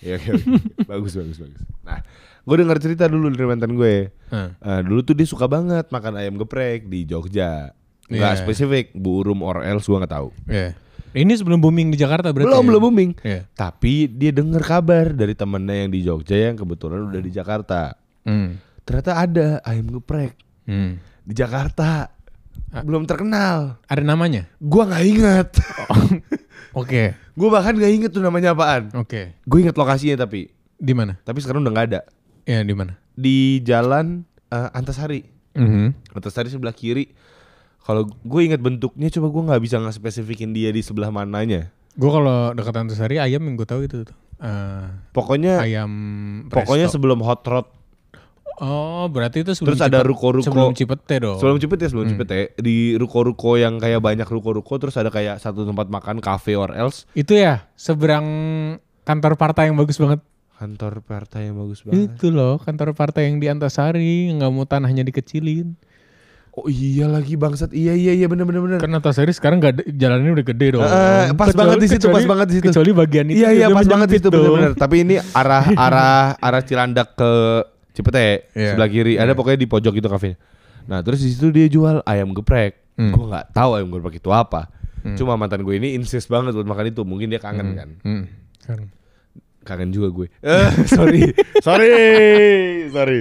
Speaker 1: Iya, oke, oke. bagus bagus bagus. Nah, gue dengar cerita dulu dari mantan gue.
Speaker 2: Hah.
Speaker 1: Eh, dulu tuh dia suka banget makan ayam geprek di Jogja. Enggak
Speaker 2: Iya.
Speaker 1: spesifik, Bu Urum or else gue nggak tahu.
Speaker 2: Iya. Ini sebelum booming di Jakarta berarti.
Speaker 1: belum
Speaker 2: ya?
Speaker 1: belum booming.
Speaker 2: Iya.
Speaker 1: Tapi dia dengar kabar dari temennya yang di Jogja yang kebetulan udah di Jakarta.
Speaker 2: Hmm.
Speaker 1: Ternyata ada ayam geprek
Speaker 2: Hmm.
Speaker 1: di Jakarta.
Speaker 2: Ah.
Speaker 1: Belum terkenal.
Speaker 2: Ada namanya.
Speaker 1: Gua nggak inget.
Speaker 2: Oh. Oke.
Speaker 1: Gua bahkan nggak inget tuh namanya apaan.
Speaker 2: Oke.
Speaker 1: Gue inget lokasinya tapi.
Speaker 2: Di mana?
Speaker 1: Tapi sekarang udah nggak ada.
Speaker 2: Ya di mana?
Speaker 1: Di jalan eh, Antasari.
Speaker 2: Mhm.
Speaker 1: Antasari sebelah kiri. Kalau gue inget bentuknya, coba gue nggak bisa ngespesifikin dia di sebelah mananya.
Speaker 2: Gue kalau dekat Antasari ayam yang gue tahu itu tuh. Eh,
Speaker 1: Pokoknya,
Speaker 2: ayam
Speaker 1: Ya. pokoknya
Speaker 2: presto.
Speaker 1: sebelum hot rod,
Speaker 2: oh berarti itu
Speaker 1: terus
Speaker 2: sebelum
Speaker 1: ada
Speaker 2: Cipet-
Speaker 1: ruko-ruko.
Speaker 2: sebelum Cipete dong.
Speaker 1: Sebelum Hmm. Cipete, sebelum Cipete di ruko-ruko yang kayak banyak ruko-ruko terus ada kayak satu tempat makan cafe or else
Speaker 2: Itu ya seberang kantor partai yang bagus banget.
Speaker 1: kantor partai yang bagus banget.
Speaker 2: Itu loh kantor partai yang di Antasari nggak mau tanahnya dikecilin.
Speaker 1: Oh iya lagi bangsat. Iya iya iya bener bener bener.
Speaker 2: Kan Antasari sekarang nggak ada- jalannya udah gede dong.
Speaker 1: Eh, eh, pas banget di situ, pas banget di situ.
Speaker 2: Kecuali bagian itu.
Speaker 1: Iya iya
Speaker 2: udah
Speaker 1: pas banget
Speaker 2: menyempit
Speaker 1: itu bener
Speaker 2: dong. Hmm,
Speaker 1: bener. Tapi ini arah arah arah Cilandak ke Cipete
Speaker 2: Iya.
Speaker 1: sebelah kiri ada pokoknya di pojok itu kafenya. Nah terus di situ dia jual ayam geprek.
Speaker 2: Hmm.
Speaker 1: Gue nggak tahu ayam geprek itu apa. Cuma mantan gue ini insist banget buat makan itu. Mungkin dia kangen kan.
Speaker 2: Hmm. Kan.
Speaker 1: kangen juga gue. Eh, sorry, sorry, sorry,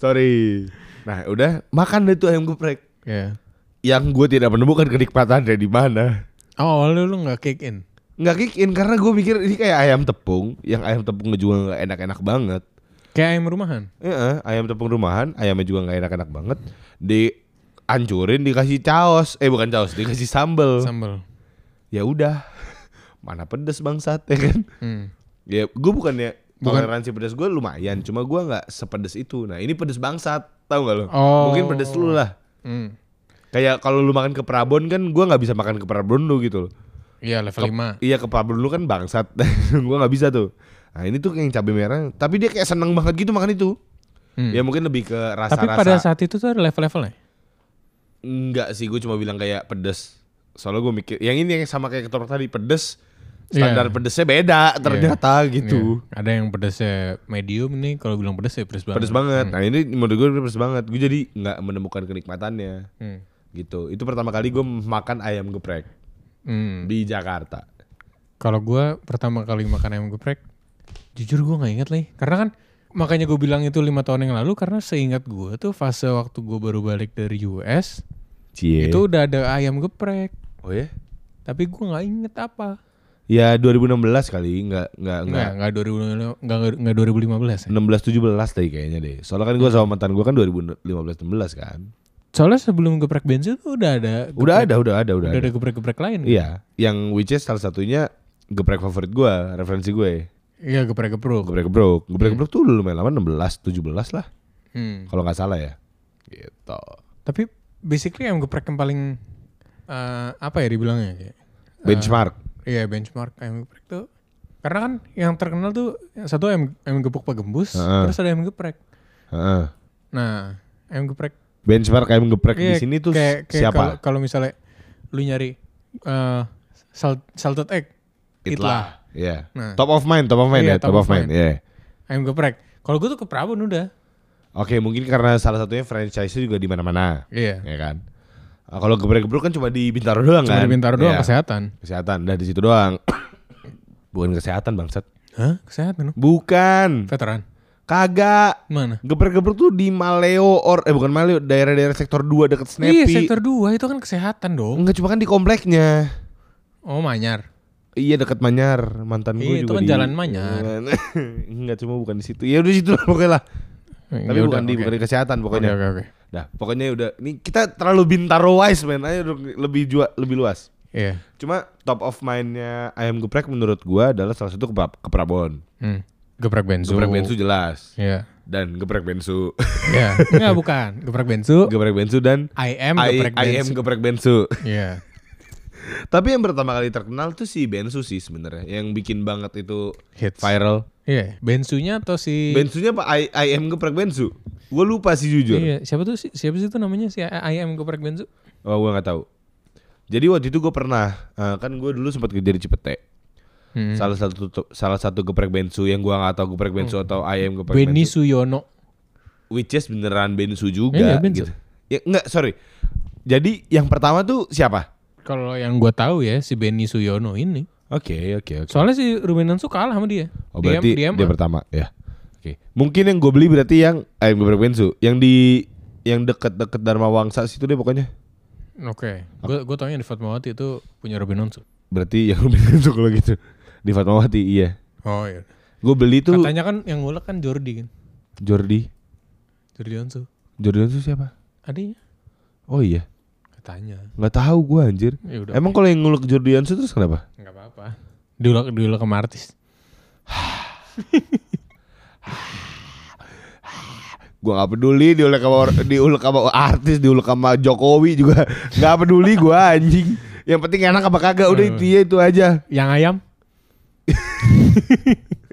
Speaker 1: sorry. Nah, udah makan deh tuh ayam geprek.
Speaker 2: Ya.
Speaker 1: Yang gue tidak menemukan kenikmatannya di mana.
Speaker 2: Oh awalnya lu nggak kick in.
Speaker 1: Nggak kick in karena gue mikir ini kayak ayam tepung, yang ayam tepung juga nggak enak-enak banget.
Speaker 2: Kayak ayam rumahan.
Speaker 1: Iya, ayam tepung rumahan, ayamnya juga nggak enak-enak banget. Diancurin, dikasih caos, eh bukan caos, dikasih sambel.
Speaker 2: Sambal.
Speaker 1: ya udah, mana pedes bangsat ya kan?
Speaker 2: Hmm.
Speaker 1: Ya, gue bukannya
Speaker 2: Bukan.
Speaker 1: toleransi pedas gue lumayan, cuma gue nggak sepedes itu. Nah ini pedes bangsat, tau gak lo?
Speaker 2: Oh.
Speaker 1: Mungkin pedes lu lah.
Speaker 2: Hmm.
Speaker 1: Kayak kalau lu makan ke Prabon kan gue nggak bisa makan ke Prabon lu gitu loh.
Speaker 2: Iya level 5.
Speaker 1: Iya ke Prabon lu kan bangsat, gue nggak bisa tuh. Nah ini tuh yang cabai merah, tapi dia kayak seneng banget gitu makan itu.
Speaker 2: Hmm.
Speaker 1: Ya mungkin lebih ke
Speaker 2: Tapi pada
Speaker 1: rasa-rasa.
Speaker 2: saat itu tuh ada ya? level-levelnya.
Speaker 1: Enggak sih, gue cuma bilang kayak pedes. Soalnya gue mikir, yang ini yang sama kayak ketoprak tadi pedes. Standar
Speaker 2: Iya.
Speaker 1: pedesnya beda ternyata gitu.
Speaker 2: Iya. Ada yang pedasnya medium nih, kalau bilang pedas ya pedas banget.
Speaker 1: pedes banget. Nah ini menurut gue pedes banget. Gue jadi nggak menemukan kenikmatannya
Speaker 2: Hmm.
Speaker 1: gitu. Itu pertama kali gue makan ayam geprek
Speaker 2: Hmm.
Speaker 1: di Jakarta.
Speaker 2: Kalau gua pertama kali makan ayam geprek, jujur gua nggak inget lagi. Karena kan makanya gue bilang itu lima tahun yang lalu karena seingat gue tuh fase waktu gue baru balik dari US
Speaker 1: Cie.
Speaker 2: itu udah ada ayam geprek
Speaker 1: Iya. Oh ya?
Speaker 2: tapi gue nggak inget apa
Speaker 1: Ya 2016 kali, nggak nggak nggak.
Speaker 2: nggak nggak 2000 nggak nggak
Speaker 1: 16
Speaker 2: 2015 ya.
Speaker 1: 17 tadi kayaknya deh. Soalnya kan
Speaker 2: Hmm.
Speaker 1: gue sama mantan gue kan 2015 16 kan.
Speaker 2: soalnya sebelum geprek bensin tuh udah ada
Speaker 1: Udah ada, udah ada, udah,
Speaker 2: ya? udah
Speaker 1: ada.
Speaker 2: ada geprek-geprek lain kan?
Speaker 1: Iya, yang which is salah satunya geprek favorit gue, referensi gue.
Speaker 2: iya geprek-geprek
Speaker 1: Geprek gebruk. Geprek gebruk tuh lumayan lama 16 17 lah
Speaker 2: Hmm.
Speaker 1: kalau nggak salah ya. Gitu.
Speaker 2: tapi basically ayam geprek yang paling eh, apa ya dibilangnya kayak
Speaker 1: Benchmark.
Speaker 2: Iya benchmark ayam geprek tuh karena kan yang terkenal tuh yang satu ayam ayam gepuk pak gembus
Speaker 1: Heeh.
Speaker 2: terus ada ayam geprek.
Speaker 1: Heeh.
Speaker 2: Nah ayam geprek
Speaker 1: Benchmark ayam geprek
Speaker 2: iya,
Speaker 1: di sini tuh
Speaker 2: kayak- kayak kalau-
Speaker 1: siapa?
Speaker 2: Kalau misalnya lu nyari eh, sal- salted egg, itlah
Speaker 1: Iya.
Speaker 2: Nah.
Speaker 1: Top of mind, top of mind ya,
Speaker 2: Iya,
Speaker 1: top, of mind. Iya.
Speaker 2: ayam geprek. Kalau gue tuh ke Prabon udah.
Speaker 1: Oke, mungkin karena salah satunya franchise juga di mana-mana,
Speaker 2: Iya.
Speaker 1: ya kan? Ah, kalau geprek-geprek kan cuma di Bintaro doang kan?
Speaker 2: Cuma di Bintaro doang
Speaker 1: Iya.
Speaker 2: kesehatan.
Speaker 1: Kesehatan, udah di situ doang. Bukan kesehatan bangsat.
Speaker 2: Hah? Kesehatan? lu?
Speaker 1: Bukan.
Speaker 2: Veteran.
Speaker 1: Kagak.
Speaker 2: Mana?
Speaker 1: Geprek-geprek tuh di Maleo or eh bukan Maleo, daerah-daerah sektor 2 deket Snappy.
Speaker 2: Iya sektor 2 itu kan kesehatan dong.
Speaker 1: Enggak, cuma kan di kompleknya.
Speaker 2: Oh manyar.
Speaker 1: Iya dekat Manyar, mantan
Speaker 2: Iya,
Speaker 1: gue
Speaker 2: itu
Speaker 1: juga
Speaker 2: kan
Speaker 1: di- Iya.
Speaker 2: jalan Manyar.
Speaker 1: Enggak cuma bukan di situ. Ya udah di situ lah pokoknya lah. Tapi
Speaker 2: Ya
Speaker 1: bukan
Speaker 2: udah,
Speaker 1: di
Speaker 2: oke.
Speaker 1: bukan di kesehatan
Speaker 2: Oke
Speaker 1: pokoknya.
Speaker 2: oke oke.
Speaker 1: Dah, pokoknya udah ini kita terlalu bintaro wise men. Ayo dong, lebih jua, lebih luas.
Speaker 2: Iya.
Speaker 1: Cuma top of mind-nya ayam geprek menurut gua adalah salah satu ke, ke Prabon.
Speaker 2: Hmm. Geprek bensu.
Speaker 1: Geprek bensu jelas
Speaker 2: Iya.
Speaker 1: dan geprek bensu.
Speaker 2: Iya. Enggak bukan. Geprek bensu.
Speaker 1: geprek bensu dan
Speaker 2: I am
Speaker 1: I,
Speaker 2: geprek
Speaker 1: I am
Speaker 2: bensu.
Speaker 1: geprek bensu.
Speaker 2: Iya.
Speaker 1: Tapi yang pertama kali terkenal tuh si bensu sih sebenarnya yang bikin banget itu
Speaker 2: Hits.
Speaker 1: viral.
Speaker 2: Iya. Bensunya atau si
Speaker 1: Bensunya apa I, I am geprek bensu? Gua lupa sih jujur.
Speaker 2: Iya, siapa tuh si- siapa sih itu namanya si I I am geprek bensu?
Speaker 1: Oh, gua nggak tahu. Jadi waktu itu gue pernah eh, kan gue dulu sempat kerja di Cipete.
Speaker 2: Hmm.
Speaker 1: Salah satu salah satu geprek bensu yang gua nggak tahu geprek
Speaker 2: Oh.
Speaker 1: bensu atau ayam geprek
Speaker 2: Benny
Speaker 1: bensu.
Speaker 2: Suyono.
Speaker 1: Which is beneran bensu juga
Speaker 2: Iya, bensu.
Speaker 1: gitu. Ya enggak, sorry. Jadi yang pertama tuh siapa?
Speaker 2: Kalau yang gua tahu ya si Benny Suyono ini.
Speaker 1: Oke, oke, oke.
Speaker 2: Soalnya si Ruben Onsu kalah sama dia.
Speaker 1: Oh, berarti dia,
Speaker 2: dia, dia,
Speaker 1: pertama, ya. Oke. Mungkin yang gue beli berarti yang ayam geprek bensu, yang di yang deket-deket Dharma Wangsa situ deh pokoknya.
Speaker 2: Oke.
Speaker 1: Oh.
Speaker 2: Gua gua taunya di Fatmawati itu punya Ruben Onsu.
Speaker 1: Berarti ya yang bensu kalau gitu. Di Fatmawati, iya.
Speaker 2: Oh iya.
Speaker 1: Gue beli tuh
Speaker 2: Katanya kan yang ngulek kan Jordi kan.
Speaker 1: Jordi.
Speaker 2: Jordi Onsu.
Speaker 1: Jordan tuh siapa?
Speaker 2: Adanya
Speaker 1: Oh iya,
Speaker 2: katanya.
Speaker 1: nggak tahu gua anjir.
Speaker 2: Ya udah.
Speaker 1: Emang kalau yang ngulek Jordan tuh terus kenapa?
Speaker 2: Enggak apa-apa. Diulek diulek sama artis.
Speaker 1: Gua nggak peduli diulek sama or- diulek sama artis, diulek sama Jokowi juga nggak peduli gua anjing. Yang penting enak apa kagak udah
Speaker 2: Iya.
Speaker 1: itu ya itu aja.
Speaker 2: Yang ayam?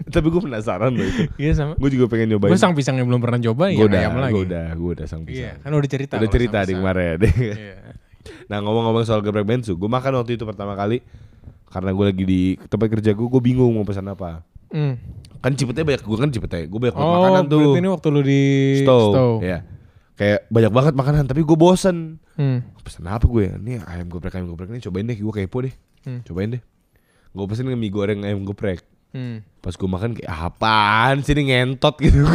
Speaker 1: Tapi gua penasaran loh itu.
Speaker 2: Iya sama.
Speaker 1: Gua juga pengen nyobain.
Speaker 2: Gue sang pisang yang belum pernah coba
Speaker 1: gua
Speaker 2: yang
Speaker 1: udah,
Speaker 2: ayam lagi.
Speaker 1: gua udah, gua udah sang
Speaker 2: Iya,
Speaker 1: pisang.
Speaker 2: kan udah cerita.
Speaker 1: udah
Speaker 2: kalau
Speaker 1: cerita
Speaker 2: sang
Speaker 1: di
Speaker 2: pisang.
Speaker 1: kemarin.
Speaker 2: Iya.
Speaker 1: nah ngomong-ngomong soal geprek bensu, gua makan waktu itu pertama kali karena gua lagi di tempat kerja gua, gua bingung mau pesan apa.
Speaker 2: Hmm.
Speaker 1: Kan Cipete banyak gua kan Cipete, gua banyak banget
Speaker 2: Oh,
Speaker 1: makanan tuh.
Speaker 2: berarti ini waktu lu di
Speaker 1: Stow. Ya. Kayak banyak banget makanan tapi gue bosen.
Speaker 2: Hmm.
Speaker 1: Pesen apa gue? Ini ayam geprek ayam geprek ini cobain deh gue kepo deh.
Speaker 2: Hmm.
Speaker 1: Cobain deh. Gue pesen mie goreng ayam geprek.
Speaker 2: Hmm.
Speaker 1: Pas gue makan kayak apaan sih ini ngentot gitu.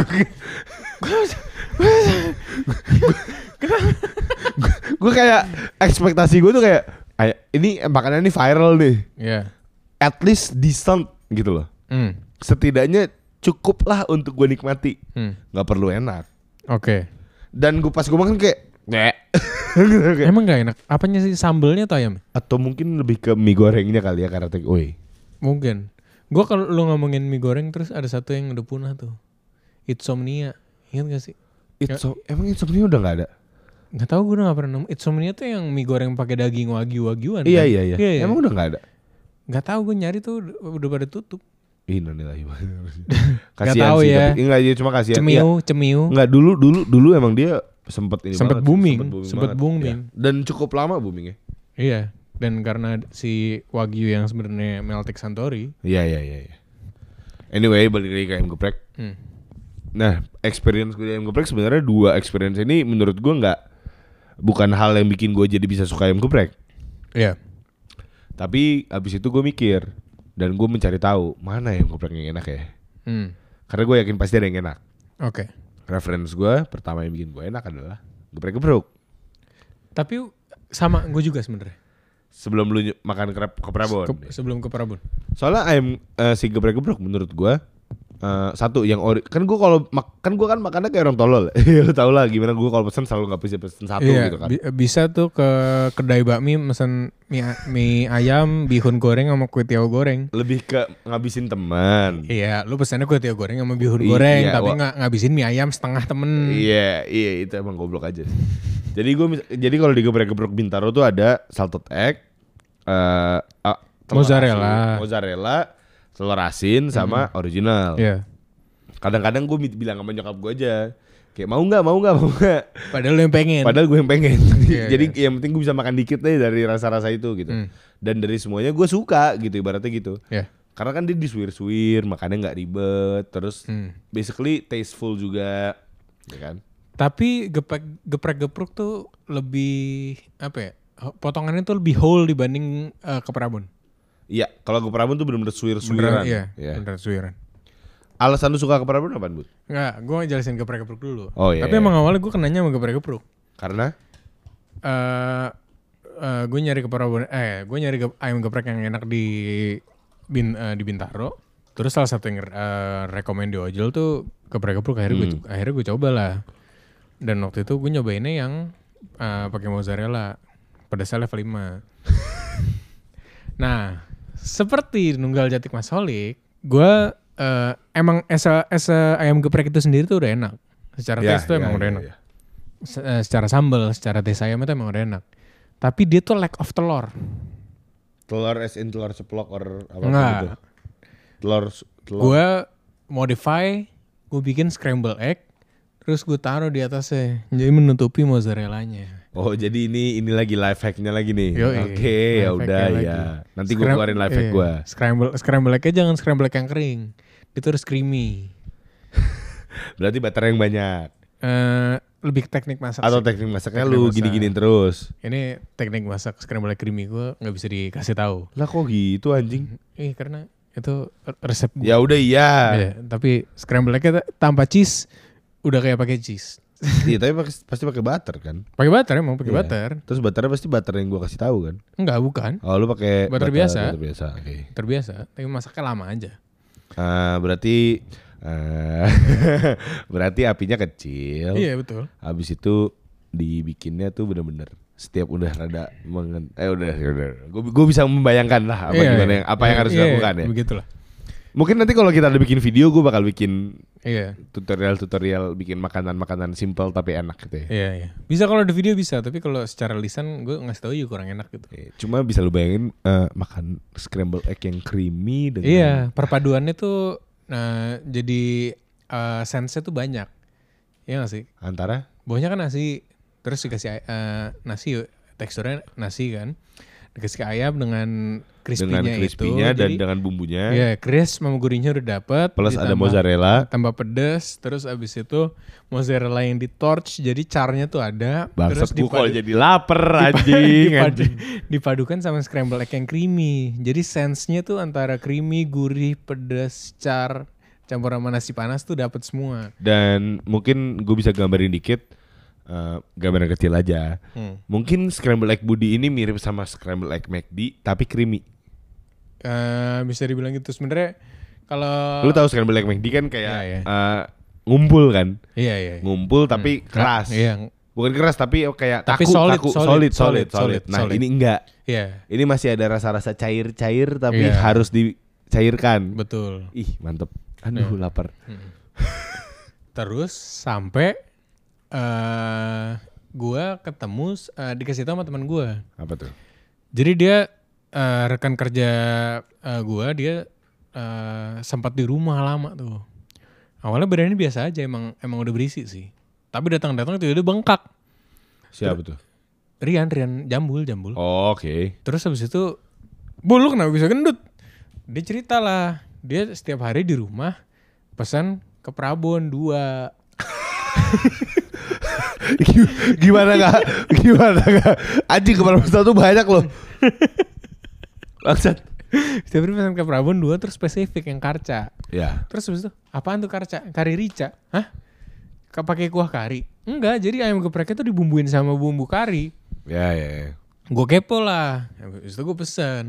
Speaker 1: gue kayak ekspektasi gue tuh kayak "Ay- ini makanan ini viral nih.
Speaker 2: Iya.
Speaker 1: At least decent gitu loh.
Speaker 2: Hmm.
Speaker 1: Setidaknya cukup lah untuk gue nikmati.
Speaker 2: Hmm.
Speaker 1: Gak perlu enak.
Speaker 2: Oke.
Speaker 1: Dan gue pas gue makan kayak "Nyeh." Kayak,
Speaker 2: Emang gak enak? Apanya sih sambelnya atau ayam?
Speaker 1: Atau mungkin lebih ke mie gorengnya kali ya karena take away.
Speaker 2: Mungkin. Gua kalau lu ngomongin mie goreng terus ada satu yang udah punah tuh. Insomnia. Ingat gak sih? Ya.
Speaker 1: It's so- emang insomnia udah nggak ada?
Speaker 2: Gak tau gue udah gak pernah nemu. Insomnia tuh yang mie goreng pakai daging wagyu wagyuan.
Speaker 1: Iya
Speaker 2: kan?
Speaker 1: iya iya.
Speaker 2: Iya, iya.
Speaker 1: Emang udah nggak ada?
Speaker 2: Gak tau gue nyari tuh udah- udah pada tutup.
Speaker 1: Innalillahi wa inna ilaihi.
Speaker 2: tahu
Speaker 1: sih,
Speaker 2: ya.
Speaker 1: tapi- Enggak ya cuma kasihan. Iya.
Speaker 2: Cemiu, cemiu.
Speaker 1: Enggak dulu dulu dulu emang dia sempet ini banget,
Speaker 2: Sempet booming, sempet
Speaker 1: banget.
Speaker 2: booming.
Speaker 1: Iya. Dan cukup lama ya? boomingnya.
Speaker 2: Iya. Dan karena si wagyu yang sebenarnya Meltek Santori.
Speaker 1: Iya iya iya. iya. Anyway balik lagi ke ayam geprek.
Speaker 2: Hmm.
Speaker 1: Nah experience gue di ayam geprek sebenarnya dua experience ini menurut gue nggak bukan hal yang bikin gue jadi bisa suka ayam geprek.
Speaker 2: Iya.
Speaker 1: Tapi abis itu gue mikir dan gue mencari tahu mana yang geprek yang enak ya.
Speaker 2: Hmm.
Speaker 1: Karena gue yakin pasti ada yang enak.
Speaker 2: Oke.
Speaker 1: Reference gue pertama yang bikin gue enak adalah geprek-gepruk.
Speaker 2: Tapi sama gue juga sebenarnya.
Speaker 1: Sebelum lu ny- makan krep ke Prabon. ya.
Speaker 2: Ke- sebelum ke Prabun.
Speaker 1: Soalnya ayam eh, si geprek-gepruk menurut gue eh, satu yang ori kan gue kalau mak- kan gue kan makannya kayak orang tolol Iya, lu tau lah gimana gue kalau pesen selalu nggak bisa pesen satu
Speaker 2: Iya,
Speaker 1: gitu kan
Speaker 2: bi- bisa tuh ke kedai bakmi mesen mie, a- mie ayam, bihun goreng sama kue tiaw goreng.
Speaker 1: lebih ke ngabisin teman
Speaker 2: Iya, lu pesannya kue tiaw goreng sama bihun
Speaker 1: Iya,
Speaker 2: goreng, tapi
Speaker 1: wa-
Speaker 2: nggak ngabisin mie ayam setengah temen.
Speaker 1: Iya, iya itu emang goblok aja. sih. jadi gue jadi kalau di geprek-geprek Bintaro tuh ada salted egg, eh ah, telur
Speaker 2: Mozzarella.
Speaker 1: asin, mozzarella, telur asin sama original.
Speaker 2: Iya.
Speaker 1: Kadang-kadang gue bilang sama nyokap gue aja, kayak mau nggak, mau nggak, mau nggak.
Speaker 2: Padahal lu yang pengen.
Speaker 1: Padahal gue yang pengen.
Speaker 2: Iya,
Speaker 1: jadi yang penting gue bisa makan dikit deh dari rasa-rasa itu gitu.
Speaker 2: Hmm.
Speaker 1: Dan dari semuanya gue suka gitu ibaratnya gitu.
Speaker 2: Iya.
Speaker 1: Karena kan dia disuir-suir, makannya nggak ribet, terus
Speaker 2: Hmm.
Speaker 1: basically tasteful juga, ya kan?
Speaker 2: Tapi geprek geprek gepruk tuh lebih apa ya? Potongannya tuh lebih whole dibanding eh, ke Prabun.
Speaker 1: Iya, kalau ke Prabun tuh benar-benar
Speaker 2: Beneran,
Speaker 1: suir-suiran.
Speaker 2: Iya,
Speaker 1: Iya.
Speaker 2: beneran suiran.
Speaker 1: Alasan lu suka ke Prabun apa, Bu?
Speaker 2: Enggak, gue jelasin geprek-geprek dulu.
Speaker 1: Oh, iya,
Speaker 2: Tapi
Speaker 1: iya.
Speaker 2: emang awalnya gue kenanya sama geprek-gepruk.
Speaker 1: Karena
Speaker 2: Eh, eh, gue nyari ke Prabon, eh gue nyari ge- ayam geprek yang enak di bin eh, di Bintaro. Terus salah satu yang eh, rekomend di Ojol tuh geprek-gepruk akhirnya gue akhirnya gue coba lah. Dan waktu itu gue nyobainnya yang eh, pakai mozzarella pedasnya level 5. nah, seperti nunggal jatik Mas Holik, gue eh, emang esa esa ayam geprek itu sendiri tuh udah enak. Secara
Speaker 1: Ya,
Speaker 2: taste tuh
Speaker 1: ya, ya,
Speaker 2: emang udah enak
Speaker 1: ya.
Speaker 2: se- eh, secara sambal, secara tes ayam itu emang udah enak. Tapi dia tuh lack of telur.
Speaker 1: telur as in telur ceplok or apa
Speaker 2: Nggak.
Speaker 1: gitu. Telur telur
Speaker 2: Gue modify, gue bikin scramble egg, terus gue taruh di atasnya, jadi menutupi mozzarellanya.
Speaker 1: Oh, jadi ini ini lagi life hacknya lagi nih.
Speaker 2: Yoi.
Speaker 1: Oke,
Speaker 2: Life
Speaker 1: ya udah ya.
Speaker 2: hacknya lagi.
Speaker 1: Nanti gue
Speaker 2: Scram-
Speaker 1: keluarin life hack
Speaker 2: iya.
Speaker 1: gue.
Speaker 2: Scramble scramble eggnya jangan scramble egg yang kering, itu harus creamy.
Speaker 1: Berarti butter yang banyak
Speaker 2: Eh, lebih ke teknik masak.
Speaker 1: atau
Speaker 2: sih.
Speaker 1: teknik masaknya
Speaker 2: Teknik
Speaker 1: lu
Speaker 2: masak.
Speaker 1: gini-giniin terus.
Speaker 2: Ini teknik masak scramble egg creamy gue nggak bisa dikasih tahu.
Speaker 1: Lah kok gitu anjing?
Speaker 2: Ih karena itu resep gue.
Speaker 1: Ya udah iya.
Speaker 2: Iya, tapi scramble egg tanpa cheese udah kayak pakai cheese.
Speaker 1: Iya, tapi pakai- pasti pakai butter kan?
Speaker 2: Pakai butter emang pakai
Speaker 1: Iya.
Speaker 2: butter.
Speaker 1: Terus butternya pasti butter yang gue kasih tahu kan?
Speaker 2: Enggak, bukan.
Speaker 1: Oh, lu pakai
Speaker 2: Butter biasa.
Speaker 1: Butter biasa. Oke.
Speaker 2: Terbiasa, tapi masaknya lama aja.
Speaker 1: Ah, berarti eh, berarti apinya kecil.
Speaker 2: Iya, betul.
Speaker 1: Habis itu dibikinnya tuh bener-bener setiap udah rada mengen eh udah udah gue bisa membayangkan lah apa
Speaker 2: Iya,
Speaker 1: gimana
Speaker 2: iya.
Speaker 1: yang apa yang
Speaker 2: Iya,
Speaker 1: harus
Speaker 2: iya,
Speaker 1: dilakukan ya
Speaker 2: Begitulah.
Speaker 1: mungkin nanti kalau kita ada bikin video gue bakal bikin
Speaker 2: Iya,
Speaker 1: tutorial-tutorial bikin makanan-makanan simple tapi enak gitu ya
Speaker 2: iya, iya. Bisa kalau di video bisa, tapi kalau secara lisan gue ngasih tahu juga kurang enak gitu.
Speaker 1: Eh, cuma bisa lu bayangin eh, makan scramble egg yang creamy dengan
Speaker 2: Iya, perpaduannya tuh nah jadi eh sense-nya tuh banyak. Iya gak sih?
Speaker 1: antara
Speaker 2: Bawahnya kan nasi, terus dikasih ay- eh, nasi teksturnya nasi kan. Dikasih ke ayam dengan crispy-nya
Speaker 1: dengan crispy-nya
Speaker 2: itu.
Speaker 1: dan
Speaker 2: jadi-
Speaker 1: dengan bumbunya
Speaker 2: Iya, crisp sama gurihnya udah dapet.
Speaker 1: plus ada
Speaker 2: ditambah-
Speaker 1: mozzarella
Speaker 2: tambah pedes terus abis itu mozzarella yang di torch jadi carnya tuh ada terus
Speaker 1: Bangsat gue kalau
Speaker 2: dipadu-
Speaker 1: jadi lapar anjing,
Speaker 2: dipadu-
Speaker 1: anjing.
Speaker 2: dipadukan sama scramble egg yang creamy jadi sense-nya tuh antara creamy gurih pedes char campur sama nasi panas tuh dapat semua
Speaker 1: Dan mungkin gue bisa gambarin dikit eh, Gambaran kecil aja
Speaker 2: Hmm.
Speaker 1: Mungkin scramble egg Budi ini mirip sama scramble egg McD Tapi creamy
Speaker 2: Eh, bisa dibilang gitu sebenarnya kalau
Speaker 1: Lu tahu scramble egg McD kan kayak
Speaker 2: Oh. Iya, iya.
Speaker 1: eh, Ngumpul kan
Speaker 2: iya iya iya.
Speaker 1: Ngumpul tapi keras
Speaker 2: iya
Speaker 1: Bukan keras tapi kayak
Speaker 2: Tapi
Speaker 1: kaku,
Speaker 2: solid,
Speaker 1: kaku.
Speaker 2: solid,
Speaker 1: Solid, solid,
Speaker 2: solid,
Speaker 1: solid. Nah
Speaker 2: solid.
Speaker 1: ini enggak
Speaker 2: iya
Speaker 1: Ini masih ada rasa-rasa cair-cair Tapi
Speaker 2: Iya.
Speaker 1: harus dicairkan
Speaker 2: betul Iya. Hmm.
Speaker 1: Ih mantep Aduh lapar
Speaker 2: terus sampai eh gua ketemu eh, dikasih tahu sama teman gua
Speaker 1: Apa tuh?
Speaker 2: Jadi dia eh, rekan kerja eh, gua dia eh, sempat di rumah lama tuh. Awalnya badannya biasa aja emang emang udah berisi sih. Tapi datang-datang itu udah bengkak.
Speaker 1: Siapa tuh?
Speaker 2: Rian Rian jambul jambul.
Speaker 1: Oh, Oke
Speaker 2: Terus habis itu bulu kenapa bisa gendut? Dia cerita lah. Dia setiap hari di rumah pesan ke Prabon dua.
Speaker 1: gimana nggak gimana nggak anjing kepala besar tuh banyak loh langsat
Speaker 2: Setiap hari pesan ke Prabon dua terus spesifik yang karca.
Speaker 1: ya
Speaker 2: Terus habis itu apaan tuh karca? Kari rica. Hah? ka- pakai kuah kari. Enggak, jadi ayam gepreknya tuh dibumbuin sama bumbu kari.
Speaker 1: Ya ya. ya.
Speaker 2: Gue kepo lah. Ya, Habis itu gue pesen.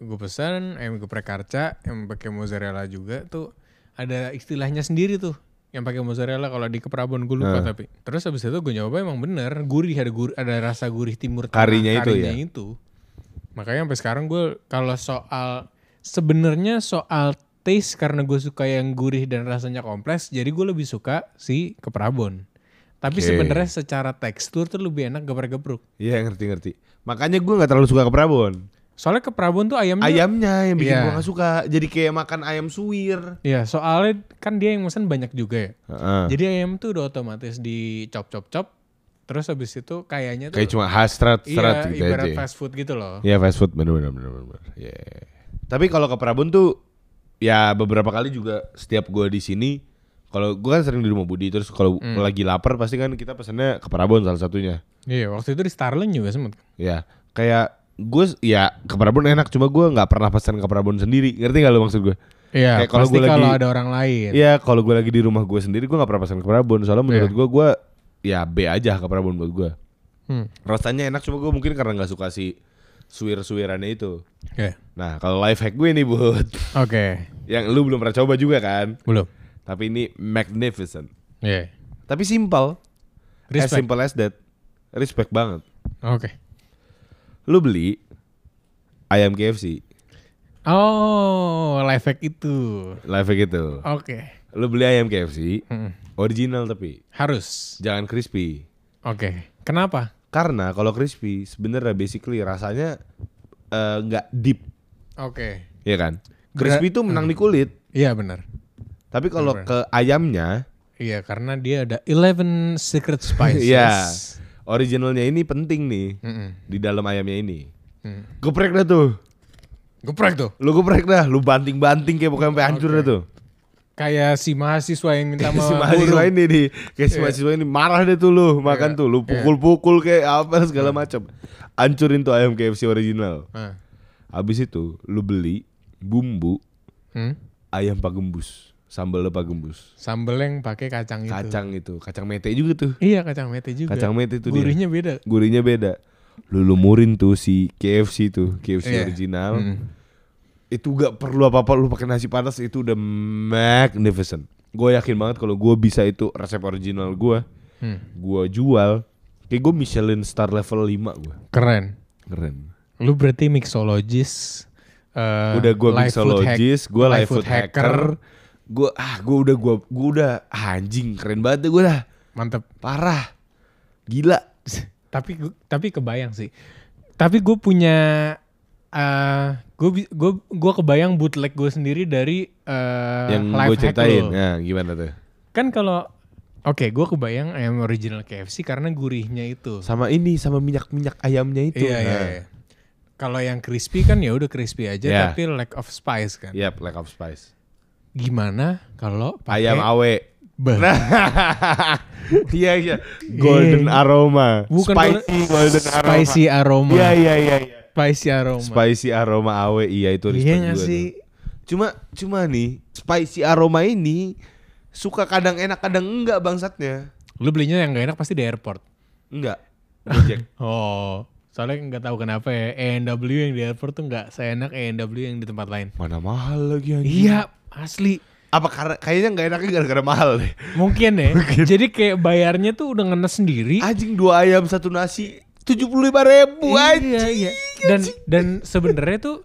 Speaker 2: Gue pesen ayam geprek karca yang pakai mozzarella juga tuh ada istilahnya sendiri tuh yang pakai mozzarella kalau di Keprabon gue lupa
Speaker 1: Ah.
Speaker 2: tapi terus habis itu gue nyoba emang bener gurih ada gurih ada rasa gurih timur tengah
Speaker 1: Karinya itu ya?
Speaker 2: itu. makanya sampai sekarang gue kalau soal sebenarnya soal taste karena gue suka yang gurih dan rasanya kompleks jadi gue lebih suka si Keprabon tapi
Speaker 1: Oke.
Speaker 2: sebenarnya secara tekstur tuh lebih enak geprek-gepruk
Speaker 1: Iya ngerti ngerti. Makanya gue nggak terlalu suka ke Prabon.
Speaker 2: soalnya Keprabon tuh ayamnya
Speaker 1: Ayamnya yang bikin
Speaker 2: Iya.
Speaker 1: gue nggak suka. Jadi kayak makan ayam suwir.
Speaker 2: ya soalnya kan dia yang pesan banyak juga ya
Speaker 1: Heeh.
Speaker 2: Jadi ayam tuh udah otomatis di chop chop chop. Terus habis itu kayaknya tuh
Speaker 1: Kayak cuma khas serat
Speaker 2: iya
Speaker 1: serat gitu
Speaker 2: ibarat
Speaker 1: aja.
Speaker 2: fast food gitu loh.
Speaker 1: Iya fast food bener bener bener bener. Iya. Tapi kalau ke Prabon tuh ya beberapa kali juga setiap gue di sini kalau gue kan sering di rumah Budi terus kalau
Speaker 2: Hmm.
Speaker 1: lagi lapar pasti kan kita pesennya ke Prabon salah satunya.
Speaker 2: Iya, waktu itu di Starling juga sempat.
Speaker 1: Ya, kayak gue ya ke Prabon enak cuma gue nggak pernah pesan ke Prabon sendiri. Ngerti gak lo maksud gue?
Speaker 2: Iya,
Speaker 1: Kayak kalau
Speaker 2: pasti
Speaker 1: gua
Speaker 2: kalau
Speaker 1: lagi-
Speaker 2: ada orang lain.
Speaker 1: Iya, kalau gue lagi di rumah gue sendiri gue nggak pernah pesan ke Prabon.
Speaker 2: Iya.
Speaker 1: Soalnya menurut gue gue ya B aja ke Prabon buat gue.
Speaker 2: Hmm.
Speaker 1: Rasanya enak cuma gue mungkin karena nggak suka si suwir-suwirannya itu.
Speaker 2: Oke.
Speaker 1: Nah, kalau life hack gue nih buat
Speaker 2: Oke.
Speaker 1: yang lu belum pernah coba juga kan?
Speaker 2: Belum.
Speaker 1: Tapi ini magnificent. Eh,
Speaker 2: Iya.
Speaker 1: Tapi simple. As
Speaker 2: Respect.
Speaker 1: simple as that. Respect banget.
Speaker 2: Oke.
Speaker 1: Lu beli ayam KFC,
Speaker 2: Oh, life hack itu.
Speaker 1: live gitu.
Speaker 2: Oke.
Speaker 1: Lu beli ayam KFC,
Speaker 2: Mm-mm.
Speaker 1: original tapi
Speaker 2: Harus.
Speaker 1: jangan crispy.
Speaker 2: Oke. Kenapa?
Speaker 1: Karena kalau crispy sebenarnya basically rasanya eh, nggak deep,
Speaker 2: Oke.
Speaker 1: ya kan?
Speaker 2: Gra-
Speaker 1: Crispy itu menang di kulit.
Speaker 2: Iya benar.
Speaker 1: Tapi kalau
Speaker 2: Bener.
Speaker 1: ke ayamnya,
Speaker 2: Iya, karena dia ada 11 secret spices.
Speaker 1: Iya. originalnya ini penting nih
Speaker 2: Mm-mm.
Speaker 1: di dalam ayamnya ini.
Speaker 2: Mm.
Speaker 1: Geprek dah tuh.
Speaker 2: Geprek tuh.
Speaker 1: Lu geprek dah, lu banting-banting kayak pokoknya sampai hancur dah tuh.
Speaker 2: Kayak si mahasiswa yang minta
Speaker 1: si
Speaker 2: sama guru.
Speaker 1: mahasiswa ini nih kayak
Speaker 2: Iya.
Speaker 1: si mahasiswa ini marah deh tuh lu makan tuh lu pukul-pukul kayak apa segala macam hancurin tuh ayam KFC original
Speaker 2: Ah.
Speaker 1: habis itu lu beli bumbu
Speaker 2: Hmm?
Speaker 1: ayam pagembus sambal pagembus
Speaker 2: Sambel yang pakai kacang itu.
Speaker 1: kacang itu kacang mete juga tuh
Speaker 2: Iya, kacang mete Gitu. juga.
Speaker 1: kacang mete itu dia
Speaker 2: Gurihnya beda.
Speaker 1: gurinya beda lu lumurin tuh si KFC tuh KFC
Speaker 2: Iya.
Speaker 1: original itu gak perlu apa-apa lu pakai nasi panas itu udah magnificent gue yakin banget kalau gue bisa itu resep original gue
Speaker 2: Hmm.
Speaker 1: gue jual kayak gue Michelin star level 5 gue
Speaker 2: Keren.
Speaker 1: keren
Speaker 2: Lu berarti mixologist. eh,
Speaker 1: udah gue
Speaker 2: live food hack-
Speaker 1: mixologist gue
Speaker 2: live
Speaker 1: live food hacker gue ah gue udah gue gue udah ah, anjing keren banget gue dah
Speaker 2: Mantep.
Speaker 1: parah gila
Speaker 2: Tapi gu- tapi kebayang sih. Tapi gue punya eh gue gue gue kebayang bootleg gue sendiri dari eh,
Speaker 1: yang gue
Speaker 2: life hack
Speaker 1: ceritain
Speaker 2: lu.
Speaker 1: nah gimana tuh
Speaker 2: Kan kalau Oke, gue kebayang ayam original KFC karena gurihnya itu.
Speaker 1: sama ini sama minyak minyak ayamnya itu Nah,
Speaker 2: Iya, iya, iya. Kalau yang crispy kan ya udah crispy aja,
Speaker 1: Iya.
Speaker 2: tapi lack of spice kan.
Speaker 1: Yap, lack of spice
Speaker 2: Gimana kalau pakai
Speaker 1: ayam awe
Speaker 2: Bah,
Speaker 1: iya iya golden
Speaker 2: Iya.
Speaker 1: aroma
Speaker 2: bukan
Speaker 1: spicy
Speaker 2: golden-
Speaker 1: golden aroma
Speaker 2: spicy aroma,
Speaker 1: iya iya iya iya.
Speaker 2: spicy aroma.
Speaker 1: spicy aroma awe iya itu
Speaker 2: Iya
Speaker 1: respect
Speaker 2: nggak
Speaker 1: juga
Speaker 2: sih?
Speaker 1: tuh. Cuma cuma nih spicy aroma ini suka kadang enak kadang enggak bangsatnya.
Speaker 2: Lu belinya yang gak enak pasti di airport.
Speaker 1: Enggak. Gojek.
Speaker 2: Oh, soalnya nggak tahu kenapa ya. ENW yang di airport tuh nggak seenak ENW yang di tempat lain.
Speaker 1: Mana mahal lagi anjing.
Speaker 2: Iya, asli.
Speaker 1: Apa karena kayaknya enggak enaknya gara-gara mahal deh.
Speaker 2: Mungkin ya. Jadi kayak bayarnya tuh udah ngenes sendiri.
Speaker 1: Anjing dua ayam satu nasi 75.000 anjing.
Speaker 2: Iya, iya. Dan dan sebenarnya tuh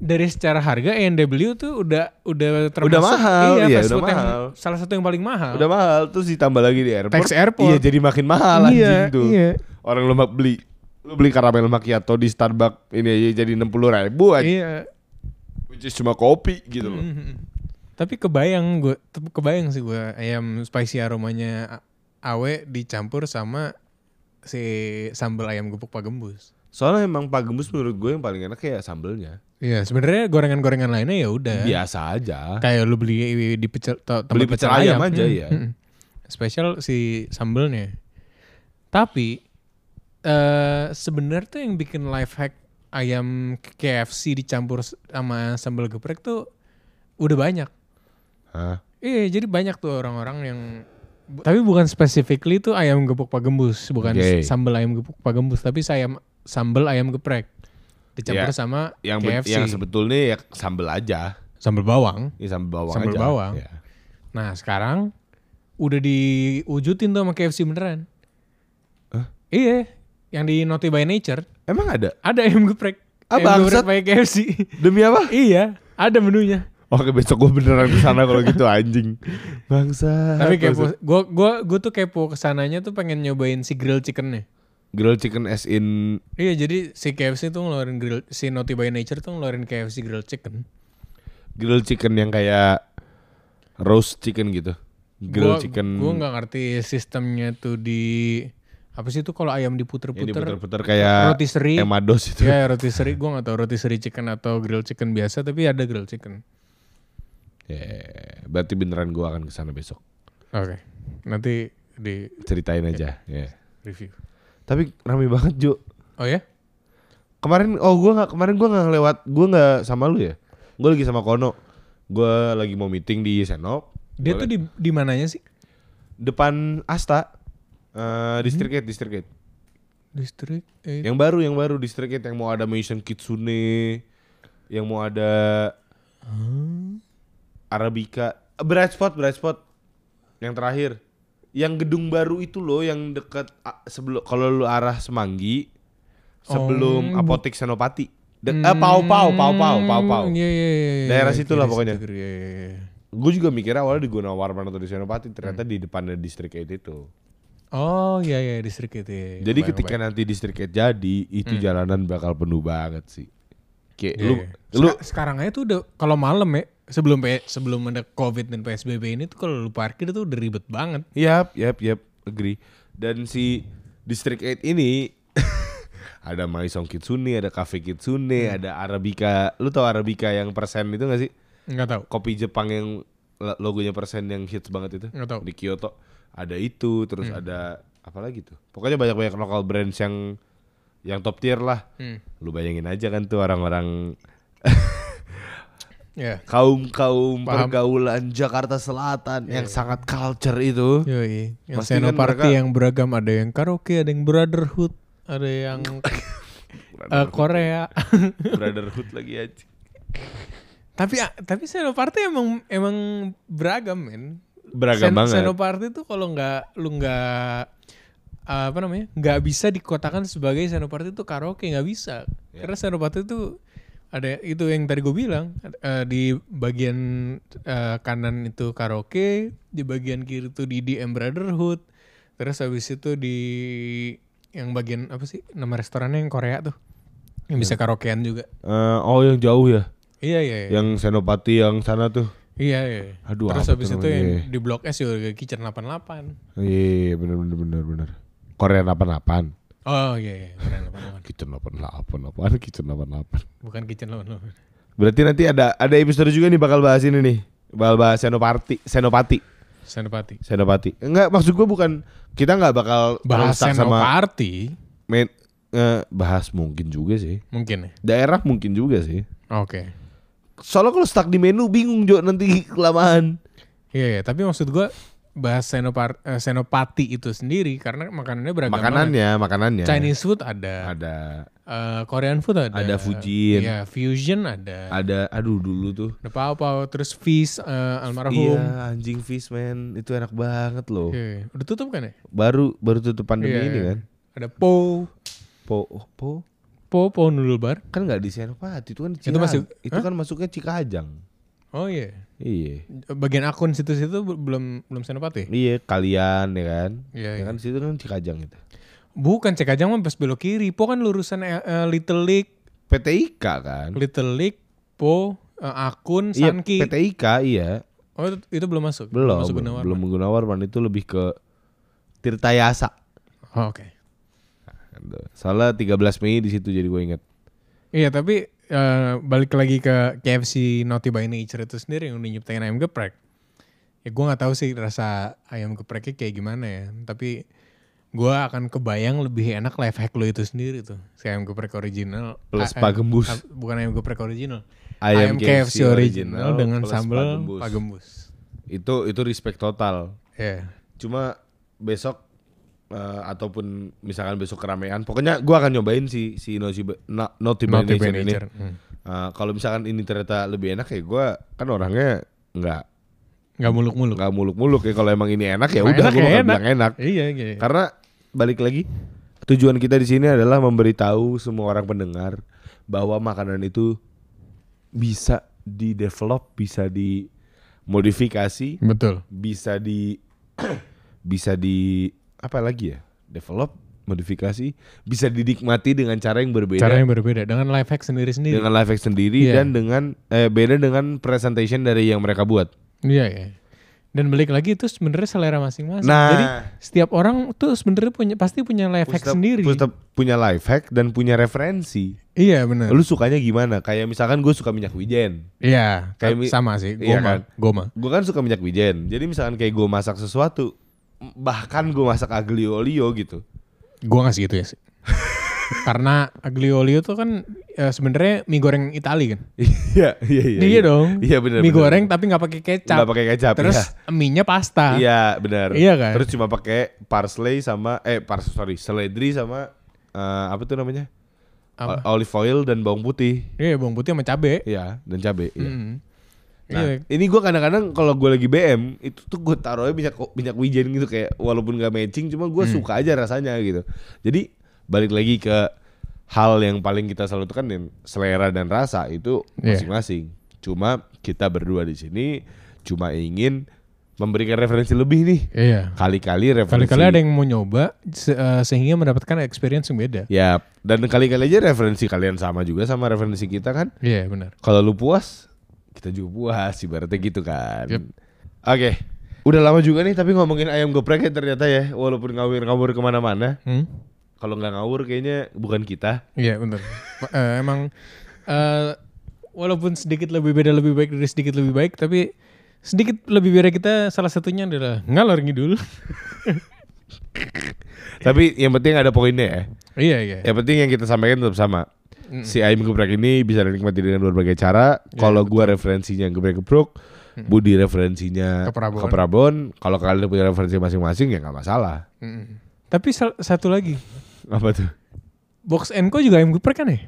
Speaker 2: dari secara harga NW tuh udah udah termasuk
Speaker 1: mahal,
Speaker 2: iya,
Speaker 1: iya, udah
Speaker 2: fast food yang-
Speaker 1: mahal.
Speaker 2: salah satu yang paling mahal.
Speaker 1: Udah mahal terus ditambah lagi di airport.
Speaker 2: Tax airport.
Speaker 1: Iya jadi makin mahal anjing
Speaker 2: Iya,
Speaker 1: tuh.
Speaker 2: iya.
Speaker 1: Orang lu mak- beli lu beli karamel macchiato di Starbucks ini aja jadi 60.000 anjing.
Speaker 2: Iya.
Speaker 1: Which is cuma kopi gitu loh.
Speaker 2: Mhm. Tapi kebayang gue, kebayang sih gue ayam spicy aromanya a- awe dicampur sama si sambal ayam gepuk pagembus.
Speaker 1: Soalnya emang Pak Gembus menurut gue yang paling enak kayak sambelnya.
Speaker 2: Iya, sebenarnya gorengan-gorengan lainnya ya
Speaker 1: Iya.
Speaker 2: udah.
Speaker 1: Biasa aja.
Speaker 2: Kayak lu beli di pecel to- tempat
Speaker 1: Beli pecel ayam aja, iya.
Speaker 2: Spesial si sambelnya. Tapi eh sebenarnya tuh yang bikin life hack ayam KFC dicampur s- sama sambal geprek tuh udah banyak.
Speaker 1: Hah?
Speaker 2: Iya, jadi banyak tuh orang-orang yang Bu- Tapi bukan specifically itu ayam gepuk pak gembus, bukan
Speaker 1: Oke.
Speaker 2: s- sambel ayam gepuk pak gembus, tapi sayam sambel ayam geprek
Speaker 1: Ya,
Speaker 2: dicampur sama
Speaker 1: yang be-
Speaker 2: KFC.
Speaker 1: yang sebetulnya ya sambel aja
Speaker 2: sambel bawang.
Speaker 1: ya sambel bawang
Speaker 2: Sambel
Speaker 1: aja
Speaker 2: bawang.
Speaker 1: Ya.
Speaker 2: Nah, sekarang udah diwujudin tuh sama KFC beneran. Iya, yang di Naughty by Nature
Speaker 1: emang ada
Speaker 2: ada ayam geprek.
Speaker 1: Ah,
Speaker 2: ayam geprek
Speaker 1: bangsat.
Speaker 2: pakai KFC.
Speaker 1: demi apa
Speaker 2: iya, ada menunya.
Speaker 1: oke besok gue beneran kesana kalau gitu anjing bangsa
Speaker 2: Tapi kepo, gua gua gua tuh kepo kesananya tuh pengen nyobain si grill chickennya.
Speaker 1: grilled chicken as in
Speaker 2: Iya, jadi si KFC tuh ngeluarin grill, si Naughty by Nature tuh ngeluarin KFC grill chicken.
Speaker 1: grilled chicken yang kayak roast chicken gitu grilled
Speaker 2: Gua-
Speaker 1: chicken
Speaker 2: Gua nggak ngerti sistemnya tuh di apa sih itu kalau
Speaker 1: yang
Speaker 2: ayam
Speaker 1: Ah,
Speaker 2: diputer-puter,
Speaker 1: diputer-puter kayak
Speaker 2: rotisserie.
Speaker 1: emados itu
Speaker 2: Ya rotisserie, gue gak tau rotisserie chicken atau grill chicken biasa tapi ada grill chicken.
Speaker 1: Ya, berarti beneran gua akan kesana besok
Speaker 2: Oke, nanti di
Speaker 1: ceritain aja ya
Speaker 2: review.
Speaker 1: tapi rame banget Jo
Speaker 2: Oh ya?
Speaker 1: kemarin oh gua nggak kemarin gua nggak lewat gua nggak sama lu ya gua lagi sama Kono gua lagi mau meeting di Senop
Speaker 2: Dia
Speaker 1: Gua
Speaker 2: tuh
Speaker 1: le-
Speaker 2: di, di mananya sih?
Speaker 1: depan Asta eh District Gate District Gate
Speaker 2: Distrik? Eh,
Speaker 1: yang baru yang baru District Gate yang mau ada Maison Kitsune yang mau ada Arabica Eh, Bright Spot Bright Spot yang terakhir yang gedung baru itu loh yang dekat ah, sebelum kalau lu arah Semanggi sebelum
Speaker 2: Oh, bu-
Speaker 1: apotek Senopati De- eh, Pau Pau Pau Pau Pau Pau
Speaker 2: Iya, iya, iya, iya.
Speaker 1: Daerah
Speaker 2: Iya,
Speaker 1: situ lah
Speaker 2: kiri
Speaker 1: pokoknya.
Speaker 2: situ, kiri, iya, iya, iya.
Speaker 1: gue juga mikirnya awalnya di Gunawarman atau di Senopati ternyata di depannya District 8 itu
Speaker 2: Oh iya, iya, distrik itu. iya, iya.
Speaker 1: jadi
Speaker 2: Kebayang, Hmm.
Speaker 1: ketika nanti District 8 jadi itu jalanan bakal penuh banget sih kayak
Speaker 2: Iya,
Speaker 1: lu
Speaker 2: iya.
Speaker 1: lu
Speaker 2: Seka- sekarang aja tuh udah kalau malam ya sebelum P- sebelum ada covid dan psbb ini tuh kalau lu parkir tuh udah ribet banget
Speaker 1: Yap, yap, yap, agree. Dan si District 8 ini ada Maison Kitsune, ada Cafe Kitsune,
Speaker 2: Hmm.
Speaker 1: ada Arabica. Lu tau Arabica yang persen itu gak sih?
Speaker 2: nggak tahu
Speaker 1: Kopi Jepang yang la- logonya persen yang hits banget itu.
Speaker 2: Nggak tahu.
Speaker 1: Di Kyoto ada itu, terus
Speaker 2: Hmm.
Speaker 1: ada apa lagi tuh? Pokoknya banyak-banyak lokal brands yang yang top tier lah.
Speaker 2: Hmm.
Speaker 1: Lu bayangin aja kan tuh orang-orang
Speaker 2: ya
Speaker 1: kaum-kaum
Speaker 2: Paham. Iya,
Speaker 1: pergaulan Jakarta Selatan yang sangat culture itu.
Speaker 2: Yoi. yang
Speaker 1: Pasti kan
Speaker 2: senoparty
Speaker 1: mereka-
Speaker 2: yang beragam ada yang karaoke ada yang brotherhood ada yang eh, Korea
Speaker 1: Brotherhood lagi aja.
Speaker 2: tapi ah, tapi senoparty emang emang beragam men
Speaker 1: Beragam
Speaker 2: Sen-
Speaker 1: banget.
Speaker 2: senoparty tuh kalau nggak lu nggak apa namanya nggak bisa dikotakan sebagai senoparty itu karaoke nggak bisa
Speaker 1: Ya.
Speaker 2: karena senoparty itu ada itu yang tadi gue bilang eh, di bagian eh, kanan itu karaoke di bagian kiri itu di DM Brotherhood terus habis itu di yang bagian apa sih nama restorannya yang Korea tuh yang bisa
Speaker 1: Iya.
Speaker 2: karaokean juga
Speaker 1: Eh, oh yang jauh ya,
Speaker 2: iya iya iya
Speaker 1: yang Senopati yang sana tuh.
Speaker 2: iya, iya.
Speaker 1: Aduh,
Speaker 2: terus
Speaker 1: apa
Speaker 2: habis
Speaker 1: tuh
Speaker 2: itu
Speaker 1: namanya?
Speaker 2: yang di Blok S juga Kitchen 88
Speaker 1: Iya, bener bener bener bener. Korea 88,
Speaker 2: Oh iya, iya. Keren, lapan, lapan.
Speaker 1: Kitchen 88, apaan Kitchen 88.
Speaker 2: bukan kitchen lawan lawan.
Speaker 1: Berarti nanti ada ada episode juga nih bakal bahas ini nih. Bakal bahas Senopati, Senopati,
Speaker 2: Senopati.
Speaker 1: Senopati. Enggak, maksud gua bukan kita nggak bakal
Speaker 2: Bahas
Speaker 1: rusak
Speaker 2: Senopati
Speaker 1: men- eh, bahas mungkin juga sih.
Speaker 2: mungkin ya.
Speaker 1: Daerah mungkin juga sih.
Speaker 2: Oke.
Speaker 1: Soalnya kalau stuck di menu bingung Jo nanti kelamaan.
Speaker 2: Iya, iya, tapi maksud gua bahas Senopar- eh, Senopati itu sendiri karena makanannya beragam. banget.
Speaker 1: Makanannya, makanannya.
Speaker 2: Chinese food ada,
Speaker 1: ada
Speaker 2: eh, Korean food ada,
Speaker 1: Ada Fujin.
Speaker 2: Iya, fusion ada.
Speaker 1: ada aduh dulu tuh
Speaker 2: Ada apa terus Fish eh, almarhum.
Speaker 1: Iya anjing Fishman itu enak banget loh.
Speaker 2: Iya, iya. Udah tutup kan ya?
Speaker 1: Baru baru tutup pandemi
Speaker 2: Iya,
Speaker 1: ini
Speaker 2: iya.
Speaker 1: kan.
Speaker 2: Ada Po,
Speaker 1: Po oh, po
Speaker 2: Po Po Noodle Bar.
Speaker 1: kan nggak di Senopati itu kan di
Speaker 2: Itu
Speaker 1: Cirang-
Speaker 2: masuk-
Speaker 1: itu kan masuknya Cikajang.
Speaker 2: Oh iya.
Speaker 1: Iya.
Speaker 2: Bagian akun situ-situ belum belum Senopati.
Speaker 1: Iya kalian ya kan.
Speaker 2: Iya,
Speaker 1: Ya
Speaker 2: iya.
Speaker 1: kan situ kan Cikajang itu.
Speaker 2: Bukan cek aja mah pas belok kiri. Po kan lurusan eh, eh, Little League,
Speaker 1: PTIK kan.
Speaker 2: Little League, Po, eh, akun
Speaker 1: Iya
Speaker 2: Sanki.
Speaker 1: PTIK iya
Speaker 2: oh itu, itu belum masuk.
Speaker 1: belum
Speaker 2: masuk
Speaker 1: belum,
Speaker 2: Gunawan.
Speaker 1: belum menggunakan warman itu lebih ke Tirtayasa.
Speaker 2: Oh, Oke.
Speaker 1: Salah 13 Mei di situ jadi gue inget.
Speaker 2: Iya tapi eh, balik lagi ke KFC Naughty by Nature itu sendiri yang udah nyiptain ayam geprek. Ya gue nggak tahu sih rasa ayam gepreknya kayak gimana ya. Tapi gue akan kebayang lebih enak life hack lo itu sendiri tuh. Si ayam geprek original.
Speaker 1: Plus
Speaker 2: Ah,
Speaker 1: pak gembus.
Speaker 2: ah, bukan ayam geprek original.
Speaker 1: Ayam
Speaker 2: Ayam,
Speaker 1: KFC
Speaker 2: KFC, original,
Speaker 1: original
Speaker 2: dengan
Speaker 1: plus
Speaker 2: sambal
Speaker 1: pagembus.
Speaker 2: pagembus.
Speaker 1: Itu itu respect total.
Speaker 2: Ya.
Speaker 1: Cuma besok eh, ataupun misalkan besok keramaian, pokoknya gua akan nyobain si si Notibe- Na- Notibenation ini.
Speaker 2: Multi-manager. Hmm.
Speaker 1: Eh, kalau misalkan ini ternyata lebih enak ya gua kan orangnya nggak
Speaker 2: Nggak muluk-muluk.
Speaker 1: nggak muluk-muluk ya kalau emang ini enak ya
Speaker 2: Emang
Speaker 1: udah
Speaker 2: enak
Speaker 1: gua
Speaker 2: ya
Speaker 1: bakal
Speaker 2: enak.
Speaker 1: bilang enak.
Speaker 2: Iya, iya. iya.
Speaker 1: Karena balik lagi tujuan kita di sini adalah memberitahu semua orang pendengar bahwa makanan itu bisa di develop, bisa dimodifikasi,
Speaker 2: Betul.
Speaker 1: bisa di bisa di apa lagi ya? Develop, modifikasi, bisa dinikmati dengan cara yang berbeda
Speaker 2: Cara yang berbeda dengan life hack sendiri-sendiri.
Speaker 1: dengan live hack sendiri
Speaker 2: Iya.
Speaker 1: dan dengan eh, beda dengan presentation dari yang mereka buat.
Speaker 2: Iya, iya. Dan balik lagi itu sebenarnya selera masing-masing.
Speaker 1: Nah.
Speaker 2: Jadi setiap orang tuh sebenarnya punya pasti punya life hack
Speaker 1: Pusat-
Speaker 2: sendiri.
Speaker 1: pusat punya live hack dan punya referensi.
Speaker 2: Iya, benar.
Speaker 1: Lu sukanya gimana? Kayak misalkan gue suka minyak wijen.
Speaker 2: Iya,
Speaker 1: Kayak mi-
Speaker 2: sama sih. Goma,
Speaker 1: Iya kan?
Speaker 2: goma.
Speaker 1: Gue kan suka minyak wijen. Jadi misalkan kayak gue masak sesuatu, m- bahkan gue masak aglio olio gitu.
Speaker 2: Gua nggak segitu ya sih. Karena aglio olio tuh kan eh, sebenarnya mie goreng Itali kan.
Speaker 1: Iya, iya, iya.
Speaker 2: Iya, dong.
Speaker 1: Iya benar.
Speaker 2: Mie
Speaker 1: benar.
Speaker 2: goreng tapi nggak pakai kecap.
Speaker 1: Nggak pakai kecap.
Speaker 2: Terus
Speaker 1: iya.
Speaker 2: mie-nya pasta.
Speaker 1: Iya, benar.
Speaker 2: Ah. Iya kan?
Speaker 1: Terus cuma pakai parsley sama eh parsley sorry, seledri sama eh, apa tuh namanya?
Speaker 2: Apa?
Speaker 1: O- Olive oil dan bawang putih.
Speaker 2: Iya, bawang putih sama cabe.
Speaker 1: Iya, dan cabe. Iya.
Speaker 2: Mm.
Speaker 1: Nah,
Speaker 2: Iya.
Speaker 1: ini gue kadang-kadang kalau gue lagi BM itu tuh gue taruhnya minyak minyak wijen gitu kayak walaupun gak matching cuma gue
Speaker 2: Hmm.
Speaker 1: suka aja rasanya gitu. Jadi balik lagi ke hal yang paling kita selalu tekenin selera dan rasa itu
Speaker 2: Iya.
Speaker 1: masing-masing. Cuma kita berdua di sini cuma ingin memberikan referensi lebih nih.
Speaker 2: Iya.
Speaker 1: Kali-kali referensi.
Speaker 2: Kali-kali ada yang mau nyoba se- eh, sehingga mendapatkan experience yang beda.
Speaker 1: Ya, dan kali-kali aja referensi kalian sama juga sama referensi kita kan.
Speaker 2: Iya, benar.
Speaker 1: Kalau lu puas, kita juga puas ibaratnya gitu kan.
Speaker 2: Yep.
Speaker 1: Oke. Udah lama juga nih tapi ngomongin ayam geprek ya ternyata ya walaupun ngawur-ngawur kemana-mana.
Speaker 2: Hmm?
Speaker 1: Kalau nggak ngawur kayaknya bukan kita.
Speaker 2: Iya, benar. Eh, emang eh, walaupun sedikit lebih beda lebih baik dari sedikit lebih baik, tapi sedikit lebih beda kita salah satunya adalah ngalor ngidul.
Speaker 1: Tapi yang penting ada poinnya ya.
Speaker 2: iya, iya.
Speaker 1: Yang penting yang kita sampaikan tetap sama. Si ayam geprek ini bisa dinikmati dengan berbagai cara. Kalau gua referensinya geprek-gepruk, Budi referensinya
Speaker 2: Ke Prabon.
Speaker 1: ke Prabon. Kalau kalian punya referensi masing-masing ya nggak masalah.
Speaker 2: Mm-mm. Tapi sal- satu lagi,
Speaker 1: Apa tuh?
Speaker 2: Box Co juga ayam geprek kan ya?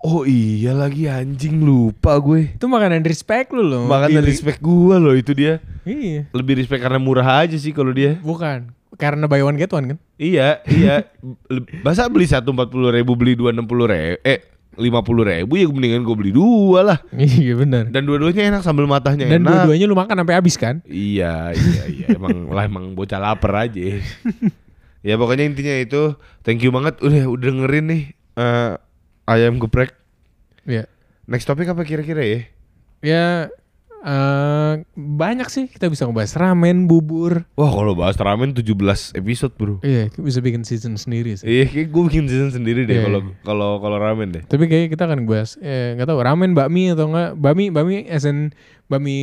Speaker 1: Oh iya lagi anjing lupa gue.
Speaker 2: Itu makanan respect lu loh.
Speaker 1: Makanya
Speaker 2: Gili.
Speaker 1: respect gua loh itu dia.
Speaker 2: Iya.
Speaker 1: Lebih respect karena murah aja sih kalau dia.
Speaker 2: Bukan. Karena buy one get one kan?
Speaker 1: Iya, iya. Le- Masa beli satu empat puluh ribu beli dua enam puluh ribu, eh lima puluh ribu ya mendingan gue beli dua lah.
Speaker 2: Iya benar.
Speaker 1: Dan dua-duanya enak sambal matahnya
Speaker 2: Dan
Speaker 1: enak.
Speaker 2: dua-duanya lu makan sampai habis kan?
Speaker 1: Iya, iya, iya. Emang lah emang bocah lapar aja. ya pokoknya intinya itu thank you banget udah udah dengerin nih eh, ayam geprek.
Speaker 2: Iya.
Speaker 1: Next topic apa kira-kira ya?
Speaker 2: Ya eh, banyak sih kita bisa ngebahas ramen, bubur.
Speaker 1: Wah kalau bahas ramen 17 episode bro.
Speaker 2: Iya, kita bisa bikin season sendiri sih.
Speaker 1: Iya, kayak gue bikin season sendiri deh
Speaker 2: Iya.
Speaker 1: kalau kalau kalau ramen deh.
Speaker 2: Tapi kayaknya kita akan bahas eh enggak tahu ramen bakmi atau enggak. Bakmi bakmi as in bakmi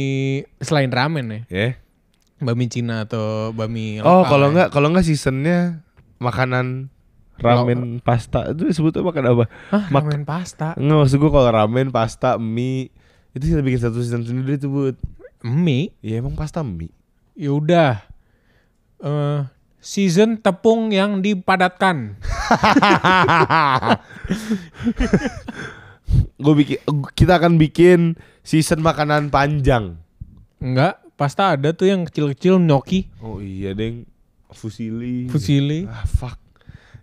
Speaker 2: selain ramen ya.
Speaker 1: Ya.
Speaker 2: Bakmi Cina atau bakmi
Speaker 1: Oh,
Speaker 2: lokal
Speaker 1: kalau
Speaker 2: ya.
Speaker 1: nggak kalau nggak seasonnya makanan ramen pasta itu sebutnya makan apa?
Speaker 2: Hah,
Speaker 1: mak-
Speaker 2: ramen pasta,
Speaker 1: Nggak maksud gua kalau ramen pasta mie itu kita bikin satu season sendiri tuh buat.
Speaker 2: mie.
Speaker 1: Ya emang pasta mie.
Speaker 2: Ya udah. Eh, season tepung yang dipadatkan.
Speaker 1: Gue bikin kita akan bikin season makanan panjang.
Speaker 2: Enggak, pasta ada tuh yang kecil-kecil gnocchi,
Speaker 1: Oh iya deng fusili.
Speaker 2: fusilli.
Speaker 1: Ah fuck.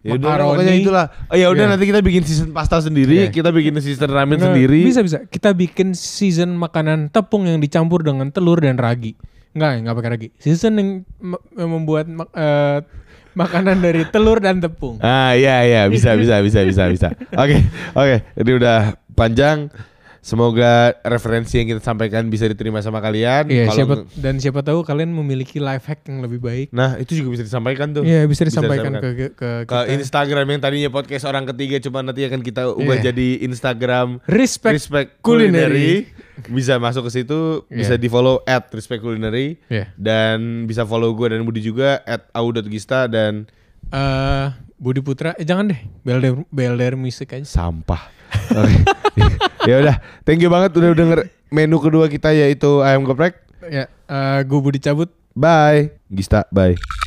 Speaker 1: Ya udah
Speaker 2: Makaroni.
Speaker 1: pokoknya itulah. Oh, ya udah
Speaker 2: Iya.
Speaker 1: nanti kita bikin season pasta sendiri,
Speaker 2: Iya.
Speaker 1: kita bikin season ramen
Speaker 2: Nah,
Speaker 1: sendiri.
Speaker 2: Bisa bisa. Kita bikin season makanan tepung yang dicampur dengan telur dan ragi. Enggak, enggak pakai ragi. Season yang me- membuat mak- eh, makanan dari telur dan tepung.
Speaker 1: Ah iya iya bisa bisa bisa bisa bisa. Oke oke ini udah panjang. Semoga referensi yang kita sampaikan bisa diterima sama kalian.
Speaker 2: Iya,
Speaker 1: Kalau
Speaker 2: siapa
Speaker 1: nge-
Speaker 2: dan siapa tahu kalian memiliki life hack yang lebih baik.
Speaker 1: Nah itu juga bisa disampaikan tuh.
Speaker 2: Iya, bisa disampaikan
Speaker 1: disampaikan.
Speaker 2: ke ke, ke
Speaker 1: Ke
Speaker 2: kita.
Speaker 1: Instagram yang tadinya podcast orang ketiga cuma nanti akan kita ubah
Speaker 2: Iya.
Speaker 1: jadi Instagram
Speaker 2: Respect.
Speaker 1: Respect
Speaker 2: Culinary.
Speaker 1: Culinary. Bisa masuk ke situ, bisa di follow at Respect Culinary
Speaker 2: Iya.
Speaker 1: dan bisa follow gue dan Budi juga at au.gista dan
Speaker 2: Eh, Budi Putra, eh, jangan deh. Belder Belder Music aja.
Speaker 1: sampah. Oke. ya udah, thank you banget udah denger menu kedua kita yaitu ayam geprek.
Speaker 2: Ya, eh, gue Budi cabut.
Speaker 1: Bye. Gista, bye.